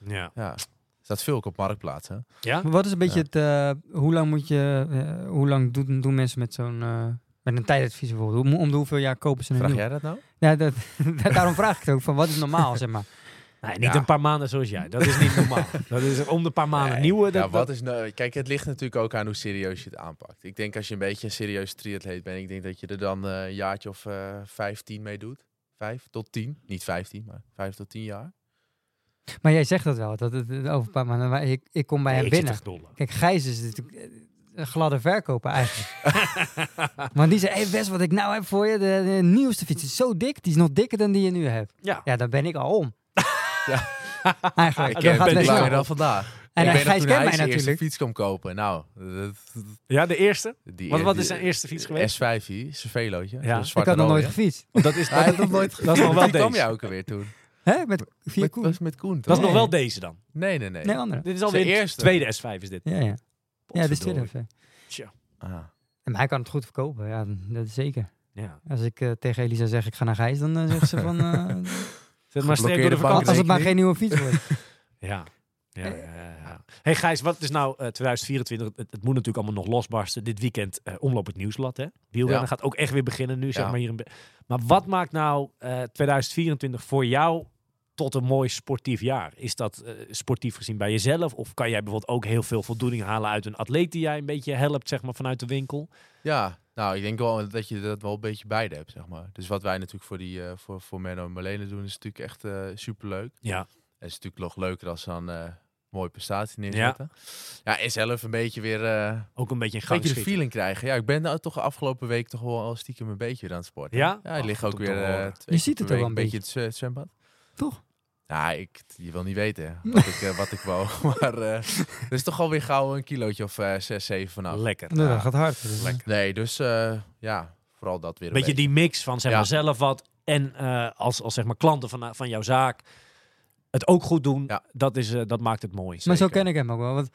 S1: Ja.
S4: ja, staat veel ook op marktplaatsen.
S1: ja?
S3: Maar Wat is een beetje het, eh, hoe lang moet je, eh, hoe lang doen, doen mensen met zo'n, eh, met een tijdadvies bijvoorbeeld? Om, om de hoeveel jaar kopen ze een
S4: Vraag
S3: nieuw?
S4: jij dat nou?
S3: Ja, dat, daarom vraag ik het ook, van wat is normaal, zeg maar.
S1: Nee, niet
S4: Ja.
S1: een paar maanden zoals jij. Dat is niet normaal. dat is om de paar maanden
S4: Nee,
S1: nieuwe.
S4: ja,
S1: Dat,
S4: wat
S1: dat-
S4: is nou, kijk, het ligt natuurlijk ook aan hoe serieus je het aanpakt. Ik denk als je een beetje een serieus triatleet bent, ik denk dat je er dan eh, een jaartje of eh 15 mee doet. Vijf tot tien, niet 15, maar vijf tot tien
S1: Ah,
S4: jaar.
S3: Maar jij zegt dat wel, dat het het over een paar maanden, maar ik, ik kom bij
S1: Nee,
S3: hem
S1: ik zit
S3: binnen.
S1: echt dol.
S3: Kijk, Gijs is natuurlijk eh, een gladde verkoper eigenlijk. Want die zei, hey Wes, wat ik nou heb voor je, de, de nieuwste fiets is zo dik, die is nog dikker dan die je nu hebt.
S1: Ja.
S3: Ja, daar ben ik al om.
S4: Ja.
S3: Eigenlijk,
S4: Ik
S3: dat
S4: ken
S3: gaat
S4: het
S3: best
S4: niet langer
S3: wel.
S4: dan vandaag.
S3: En
S4: ik
S3: hij-
S4: weet nog
S3: Gijs
S4: toen
S3: kent
S4: hij
S3: mij
S4: zijn eerste
S3: natuurlijk.
S4: fiets kwam kopen. Nou, dat-
S1: ja, de eerste.
S4: die,
S1: Wat- wat is
S4: die-
S1: zijn eerste fiets geweest?
S4: S5, hier, zijn velootje.
S1: Ja.
S4: Een
S3: Ik
S4: zwarte
S3: had nog nooit
S4: rode.
S3: gefietst.
S1: Dat is,
S4: Hij had nog nooit
S1: Dat is nog wel
S4: Die kwam
S1: deze.
S4: jij ook alweer toen.
S3: Hè? Met vier
S4: Met,
S3: koers.
S4: was met Koen,
S1: Dat
S4: toch?
S1: is nog wel deze dan.
S4: Nee, nee, nee.
S3: Nee, andere.
S1: Dit is alweer
S4: Zijn
S1: de
S4: eerste.
S1: tweede S5 is dit.
S3: Ja, ja. Ja, dit is
S1: Potverdorie.
S3: tweede. even.
S4: Ah.
S3: En hij kan het goed verkopen, ja, dat is zeker.
S1: Ja.
S3: Als ik eh, tegen Elisa zeg, ik ga naar Gijs, dan eh, zegt ze van... eh,
S1: Zet maar streep door de
S4: Geblokkeerde bank.
S1: vakantie.
S3: als het maar
S4: rekening.
S3: geen nieuwe fiets wordt.
S1: Ja. Ja, ja,
S4: Eh.
S1: ja, ja. Hey Gijs, wat is nou eh, 2024? Het, het moet natuurlijk allemaal nog losbarsten. Dit weekend eh, omloop het nieuwsblad, hè? Wielrennen
S4: Ja.
S1: gaat ook echt weer beginnen nu, zeg
S4: Ja.
S1: maar hier. In Be- maar wat maakt nou eh, 2024 voor jou tot een mooi sportief jaar? Is dat eh, sportief gezien bij jezelf? Of kan jij bijvoorbeeld ook heel veel voldoening halen uit een atleet die jij een beetje helpt, zeg maar, vanuit de winkel?
S4: Ja, nou, ik denk wel dat je dat wel een beetje beide hebt, zeg maar. Dus wat wij natuurlijk voor, die, eh, voor, voor Menno en Marlene doen, is natuurlijk echt eh superleuk.
S1: Ja.
S4: En het is natuurlijk nog leuker als ze dan eh mooie prestatie neerzetten. Ja. en zelf een beetje weer eh, een
S1: Ook een beetje een gang
S4: beetje de
S1: schieten.
S4: feeling krijgen. Ja, ik ben nou toch afgelopen week toch wel al stiekem een beetje weer aan het sporten.
S1: Ja?
S4: Ja, ik
S1: Oh,
S4: lig
S1: goed
S4: ook
S1: om te
S4: weer eh,
S1: horen.
S4: twee
S3: Je ziet
S4: keer
S3: het
S4: per
S3: ook
S4: week
S3: wel
S4: een
S3: een
S4: beetje in het zwe- zwembad.
S3: Toch?
S4: Nou, ik, je wil niet weten wat ik, eh, wat ik woog. Maar eh er is toch alweer gauw een kilootje of eh, zes, zeven vanaf.
S1: Lekker.
S3: Nou,
S4: Ja.
S3: dat gaat hard. Dus, eh,
S1: Lekker.
S4: Nee, dus eh, ja, vooral dat weer een
S1: beetje die mix van zeg
S4: Ja.
S1: maar zelf wat en eh, als, als zeg maar klanten van, van jouw zaak het ook goed doen,
S4: Ja.
S1: dat, is, eh, dat maakt het mooi.
S3: Maar zo
S4: Zeker.
S3: ken ik hem ook wel. Want,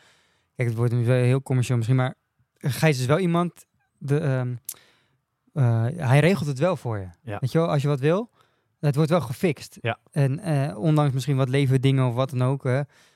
S3: kijk, het wordt nu wel heel commercieel misschien, maar Gijs is wel iemand de, ehm, eh, hij regelt het wel voor je.
S1: Ja.
S3: Weet je wel, als je wat wil, het wordt wel gefixt.
S1: Ja.
S3: En eh, ondanks misschien wat leverdingen of wat dan ook. hè.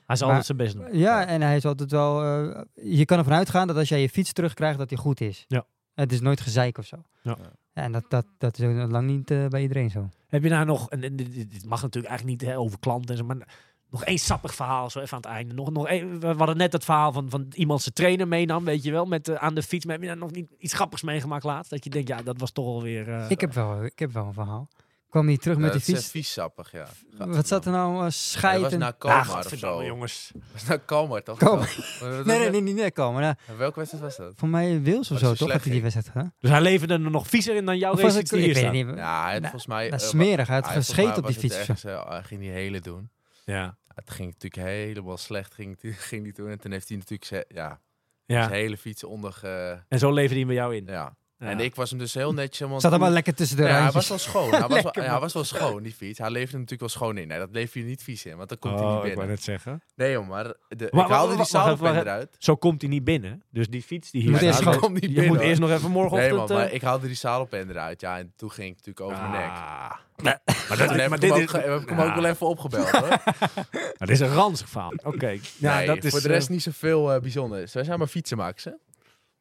S1: Hij zal
S3: Maar-
S1: altijd zijn best doen.
S3: ja, en hij is altijd wel... eh, je kan ervan uitgaan dat als jij je fiets terugkrijgt, dat die goed is.
S1: Ja.
S3: Het is nooit gezeik of zo.
S1: Ja.
S3: en dat, dat, dat is ook nog lang niet eh, bij iedereen zo.
S1: Heb je daar nog, en, en dit, dit- dit mag natuurlijk eigenlijk niet hè, over klanten en zo, maar n- nog één sappig verhaal zo even aan het einde. Nog, nog één, we hadden net het verhaal van, van iemand zijn trainer meenam, weet je wel, met, eh, aan de fiets. Maar heb je daar nog niet iets grappigs meegemaakt laatst? Dat je denkt, ja, dat was toch alweer... eh
S3: Ik heb wel, ik heb wel een verhaal. Ik kwam hier terug met die
S4: dat is
S3: fiets.
S4: eh, vies sappig, ja.
S3: Wat zat er nou? eh,
S4: Ja, dat
S3: scheid
S4: was
S3: en...
S4: naar
S1: ah,
S4: Kalmar of
S1: godverdamme,
S4: zo. Dat
S1: jongens.
S4: was naar Kalmar, toch?
S3: Kalmar.
S4: Wat- wat-
S3: Nee, nee, nee, niet net komen. Nou,
S4: Welke wedstrijd was dat?
S3: voor mij Wils of
S4: Dat is
S3: zo,
S4: een
S3: toch? Had hij die
S4: slecht
S3: wedstrijd gedaan?
S1: Dus hij leverde er nog viezer in dan jouw
S3: Of was
S1: race
S3: het,
S1: die
S3: ik
S1: hier
S3: weet het
S1: staat.
S3: niet. Ja,
S4: Ja, hij
S3: nou,
S4: had volgens mij... eh,
S3: smerig. Hij had
S4: hij had volgens mij
S3: gescheten op die
S4: was het
S3: fiets. of zo.
S4: ergens, eh, Hij ging die hele doen.
S1: Ja,
S4: Het ging natuurlijk helemaal slecht, ging, die- ging die toen. En toen heeft hij natuurlijk zijn, ja,
S1: ja.
S4: zijn hele fiets onder... ge-
S1: En zo leverde hij bij jou in.
S4: ja.
S1: Ja.
S4: En ik was hem dus heel netjes. Want
S3: Zat
S4: toen-
S3: allemaal lekker tussen de
S4: ja, hij
S3: ruimtes.
S4: was wel schoon. Hij was wel,
S3: Lekker,
S4: ja, hij
S3: man.
S4: was wel schoon, die fiets. Hij leefde hem natuurlijk wel schoon in. Nee, dat leef je niet vies in, want dan komt hij
S1: Oh,
S4: niet
S1: ik wou
S4: binnen.
S1: net zeggen.
S4: Nee, joh, maar... De,
S1: wa-
S4: ik haalde
S1: wa-
S4: die
S1: wacht even,
S4: zaalpen
S1: wacht
S4: eruit.
S1: Zo komt hij niet binnen. Dus die fiets die
S3: Je
S1: hier
S3: moet
S1: staat,
S3: eerst gewoon-
S4: komt niet
S1: je
S4: binnen,
S1: moet
S4: hoor.
S1: eerst nog even
S4: Nee,
S1: morgenochtend...
S4: man, maar
S1: eh,
S4: ik haalde die zaalpen eruit. Ja, en toen ging ik natuurlijk over mijn nek.
S1: ah.
S4: Maar dat, heb
S1: maar dit
S4: ik hem, ook,
S1: is-
S4: ge- heb ik hem
S1: Nou.
S4: ook wel even opgebeld, hoor.
S1: Maar dit is een ranzig verhaal. Oké. Ja,
S4: Nee,
S1: dat is,
S4: voor de rest
S1: eh,
S4: niet zoveel eh bijzonders. Wij zijn maar fietsenmakers, hè?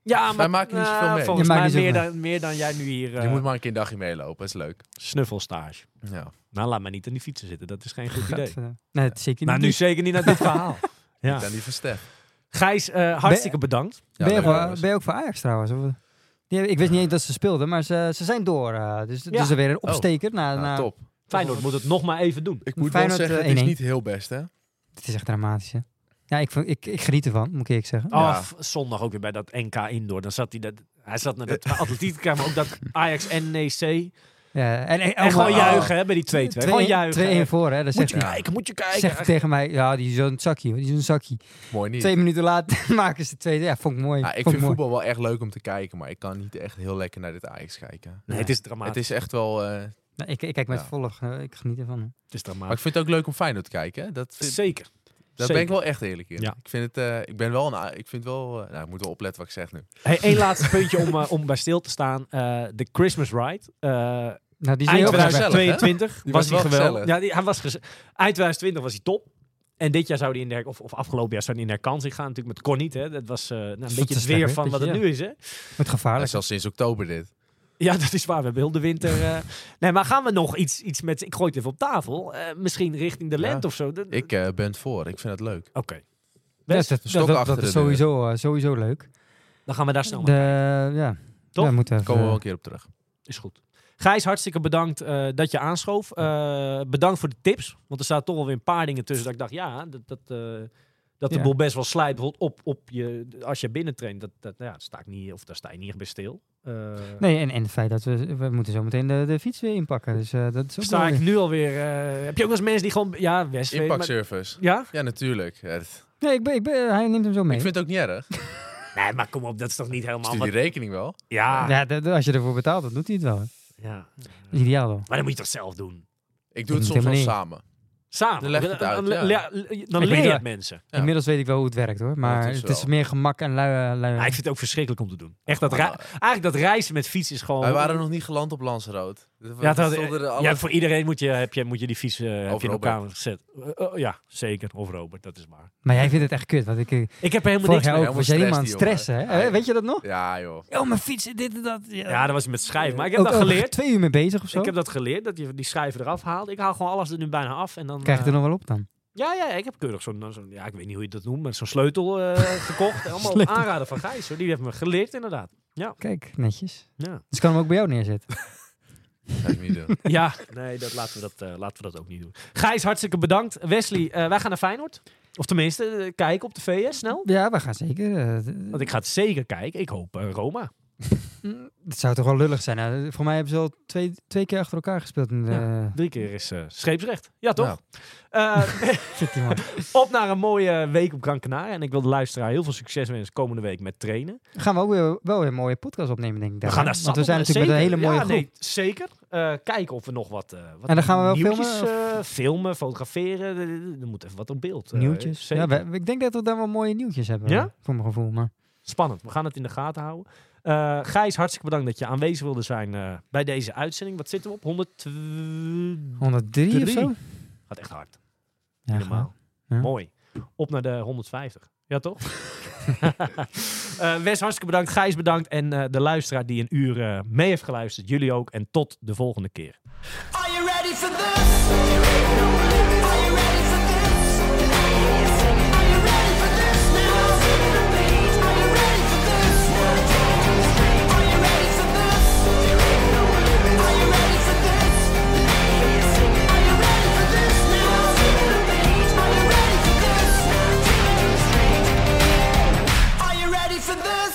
S1: ja, maar
S4: maken niet
S1: nou,
S4: zoveel mee.
S1: Volgens
S3: Je maakt
S1: mij
S3: niet
S1: meer
S3: zoveel
S1: dan, meer dan jij nu hier eh
S4: Je moet maar een keer een dagje meelopen, dat is leuk.
S1: snuffelstage.
S4: Ja.
S1: Nou, laat maar niet aan die fietsen zitten. Dat is geen goed idee.
S3: Gadver- Nee, het is zeker niet.
S1: Nou, nu zeker niet naar dit verhaal.
S4: Ik
S1: Ja.
S4: ben niet van Stef.
S1: Gijs, eh, hartstikke bedankt.
S4: Ja,
S3: ben, je
S4: leuk,
S3: ook, wel-
S4: jongens.
S3: ben je ook voor Ajax trouwens? Of? eh, Die- ik wist niet eens dat ze speelden, maar ze, ze zijn door. eh, dus het
S1: Ja.
S3: is er weer een opsteker. na,
S4: Nou,
S3: na-
S4: top.
S1: Feyenoord moet het nog maar even doen.
S4: Ik moet
S3: Feyenoord,
S4: wel zeggen,
S3: eh,
S4: het is
S3: 1-1.
S4: niet heel best, hè?
S3: Het is echt dramatisch, hè? Ja, ik, vond- ik, ik geniet ervan, moet ik eerlijk zeggen.
S1: Oh,
S4: Ja.
S1: f- zondag ook weer bij dat NK Indoor. Dan zat hij dat... Hij zat naar dat
S4: Eh.
S1: atletiek, maar ook dat Ajax NEC.
S3: Ja, en, en,
S1: En gewoon
S4: oh.
S1: juichen hè, bij die 2-2. Gewoon juichen.
S3: 2-1 voor, hè? Dat
S1: Moet
S3: zegt,
S1: je kijken, moet je kijken.
S3: zegt hij tegen mij, ja, die is zo'n zakkie, hoor, die is een zakkie.
S4: Mooi niet.
S3: Twee minuten later maken ze twee. Ja, vond ik mooi.
S4: Ja, ik
S3: vond
S4: vind
S3: ik mooi.
S4: voetbal wel echt leuk om te kijken, maar ik kan niet echt heel lekker naar dit Ajax kijken.
S1: Nee, het is dramatisch.
S4: Het is echt wel... eh,
S3: Nou, ik, ik kijk met
S4: Ja.
S3: volle, eh, ik geniet ervan. hoor.
S1: Het is
S4: maar ik
S1: dramatisch.
S4: vind het ook leuk om Feyenoord te kijken. hè. Dat, vind-
S1: Zeker.
S4: daar
S1: zeker.
S4: ben ik wel echt eerlijk in.
S1: Ja.
S4: Ik, vind het, eh, ik ben wel een... A- Ik vind wel... eh, nou, ik moet wel opletten wat ik zeg nu.
S1: Hey, één laatste puntje om, eh, om bij stil te staan. Eh, De Christmas Ride. eh,
S3: Nou, die is
S1: eind
S3: heel
S4: gezellig, hè?
S1: 2022
S4: Die
S1: was
S4: was
S1: hij
S4: wel
S1: geweldig.
S4: gezellig.
S1: Ja, die, hij was geze- eind 2020 was hij top. En dit jaar zou hij in de her- of, of afgelopen jaar zou hij in de herkansing gaan. Natuurlijk met Corniet, hè. Dat was eh, nou, een beetje
S3: te
S1: het
S3: slecht,
S1: weer
S3: hè?
S1: van wat het
S3: Beetje,
S1: nu is, hè.
S3: Met
S4: Dat
S3: gevaarlijk.
S4: is al sinds oktober dit.
S1: Ja, dat is waar. We hebben heel de winter... eh. Nee, maar gaan we nog iets, iets met... Ik gooi het even op tafel. Eh, misschien richting de
S4: Ja.
S1: lente of zo. Dat-
S4: Ik eh, ben het voor. Ik vind het leuk.
S1: Oké.
S3: Ja,
S1: Best.
S3: dat,
S4: Stok
S3: dat- dat,
S4: achter
S3: is
S4: de deur.
S3: sowieso, eh, sowieso leuk.
S1: Dan gaan we daar snel
S3: De,
S1: mee.
S3: ja.
S1: Toch?
S3: Ja, moeten we
S4: Daar komen we wel
S3: even-
S4: een keer op terug.
S1: Is goed. Gijs, hartstikke bedankt eh, dat je aanschoof. Eh, bedankt voor de tips. Want er staat toch wel weer een paar dingen tussen dat ik dacht, ja, dat, dat, eh, dat de
S3: Ja.
S1: boel best wel slijt. Bijvoorbeeld op, op je, als je binnentraint, dat, dat, nou ja, sta ik niet, of daar sta je niet echt bij stil. Eh,
S3: Nee, en, en het feit dat we, we moeten zo meteen de, de fiets weer inpakken. Dus eh, dat is ook wel
S1: sta ik
S3: weer-
S1: nu alweer... eh, heb je ook wel eens mensen die gewoon... Ja, West.
S4: Impact service.
S1: Ja?
S4: Ja, natuurlijk. Ja, dat-
S3: Nee, ik ben, ik ben, hij neemt hem zo mee.
S4: Ik vind het ook niet erg. Ik
S1: Nee, maar kom op, dat is toch niet helemaal...
S4: Stuur
S1: Wat,
S4: die rekening wel.
S1: ja, ja.
S3: Ja, dat- dat- als je ervoor betaalt, dan doet hij het wel. hè. Dat is ideaal hoor.
S1: Maar dan moet je toch zelf doen?
S4: Ik doe
S3: Ik moet
S4: het soms wel
S3: helemaal
S4: samen.
S1: Samen.
S4: Dan leg je het uit,
S1: Dan,
S4: ja.
S1: le- le- dan
S3: Ik weet
S1: leer je
S3: wel-
S1: het mensen.
S4: Ja.
S3: Inmiddels weet ik wel hoe het werkt hoor. Maar
S4: is
S3: het is
S4: wel.
S3: meer gemak en lui. eh, lui
S1: Ja, Ah, ik vind het ook verschrikkelijk om te doen. Echt dat
S4: Maar,
S1: rei- Eigenlijk dat reizen met fiets is gewoon...
S4: Wij waren nog niet geland op Lanserood.
S1: Ja, dat,
S4: stonden er alle-
S1: ja, voor iedereen moet je, heb je, moet je die vies eh, heb
S4: Of
S1: je in
S4: Robert.
S1: elkaar gezet. Eh, eh, ja, zeker. Of Robert, dat is waar.
S3: Maar jij vindt het echt kut. Want ik, eh,
S1: Ik heb er helemaal
S3: vorig
S1: niks
S3: jaar
S1: mee.
S3: ook
S4: Helemaal
S3: was jij helemaal aan het
S4: stress,
S3: stressen.
S4: die jongen.
S3: hè? Eh,
S4: Ja.
S3: Weet je dat nog?
S4: Ja, joh.
S3: Oh, mijn fiets, dit en dat.
S1: Ja, dat was met schrijven. Maar ik heb
S3: Ook-
S1: dat
S3: ook
S1: geleerd.
S3: twee uur mee bezig of zo.
S1: Ik heb dat geleerd, dat je die schrijver eraf haalt. Ik haal gewoon alles er nu bijna af. En dan,
S3: Krijg je
S1: eh,
S3: het er nog wel op dan?
S1: Ja, ja, ik heb keurig zo'n, zo'n- ja, ik weet niet hoe je dat noemt, maar zo'n sleutel eh, gekocht. Allemaal op
S3: Sleutel.
S1: aanraden van Gijs. Hoor. Die heeft me geleerd, inderdaad.
S3: Kijk, netjes.
S1: Ja,
S3: Dus ik kan hem ook bij jou neerzetten.
S4: Ga ik niet doen.
S1: ja nee, dat laten, we dat, eh, laten we dat ook niet doen. Gijs, hartstikke bedankt. Wesley, eh, wij gaan naar Feyenoord. Of tenminste, eh, kijken op tv, hè, snel.
S3: Ja, we gaan zeker. eh,
S1: Want ik ga het zeker kijken. Ik hoop eh, Roma.
S3: mm, dat zou toch wel lullig zijn. hè? voor mij hebben ze al twee, twee keer achter elkaar gespeeld. In de,
S1: Drie keer is eh, scheepsrecht. Ja, toch?
S4: Nou.
S1: Eh,
S3: Shit, die man.
S1: op naar een mooie week op Gran Canaria. En ik wil de luisteraar heel veel succes wensen komende week met trainen.
S3: gaan we ook weer, wel weer een mooie podcast opnemen, denk ik.
S1: We
S3: daar,
S1: gaan
S3: hè?
S1: daar
S3: Want we zijn
S1: zat op-
S3: natuurlijk met een hele
S1: zeker.
S3: mooie
S1: ja,
S3: groep.
S1: Nee, zeker. Eh, kijken of we nog wat, eh, wat
S3: En dan gaan we wel
S1: nieuwtjes,
S3: filmen,
S1: eh, filmen, fotograferen. Eh, Er moet even wat op beeld. eh,
S3: Nieuwtjes.
S1: zeker.
S3: Ja, we- ik denk dat we daar wel mooie nieuwtjes hebben.
S1: Ja?
S3: Voor mijn gevoel. Maar
S1: Spannend. We gaan het in de gaten houden. Eh, Eh, Gijs, hartstikke bedankt dat je aanwezig wilde zijn eh, bij deze uitzending. Wat zitten we op? 102...
S3: 103 of
S1: Drie.
S3: zo?
S1: Gaat echt hard.
S3: Ja,
S1: Helemaal.
S3: Ja.
S1: Mooi. Op naar de 150. Ja, toch? Eh, Wes, hartstikke bedankt. Gijs, bedankt. En eh, de luisteraar die een uur eh, mee heeft geluisterd. Jullie ook. En tot de volgende keer.
S2: Are you ready for this? Are you ready for this? Are you ready for this now? Are you ready for this? Are you ready for this? Are you ready for this? Are you ready for this now? Are you ready for this? Are you ready for this?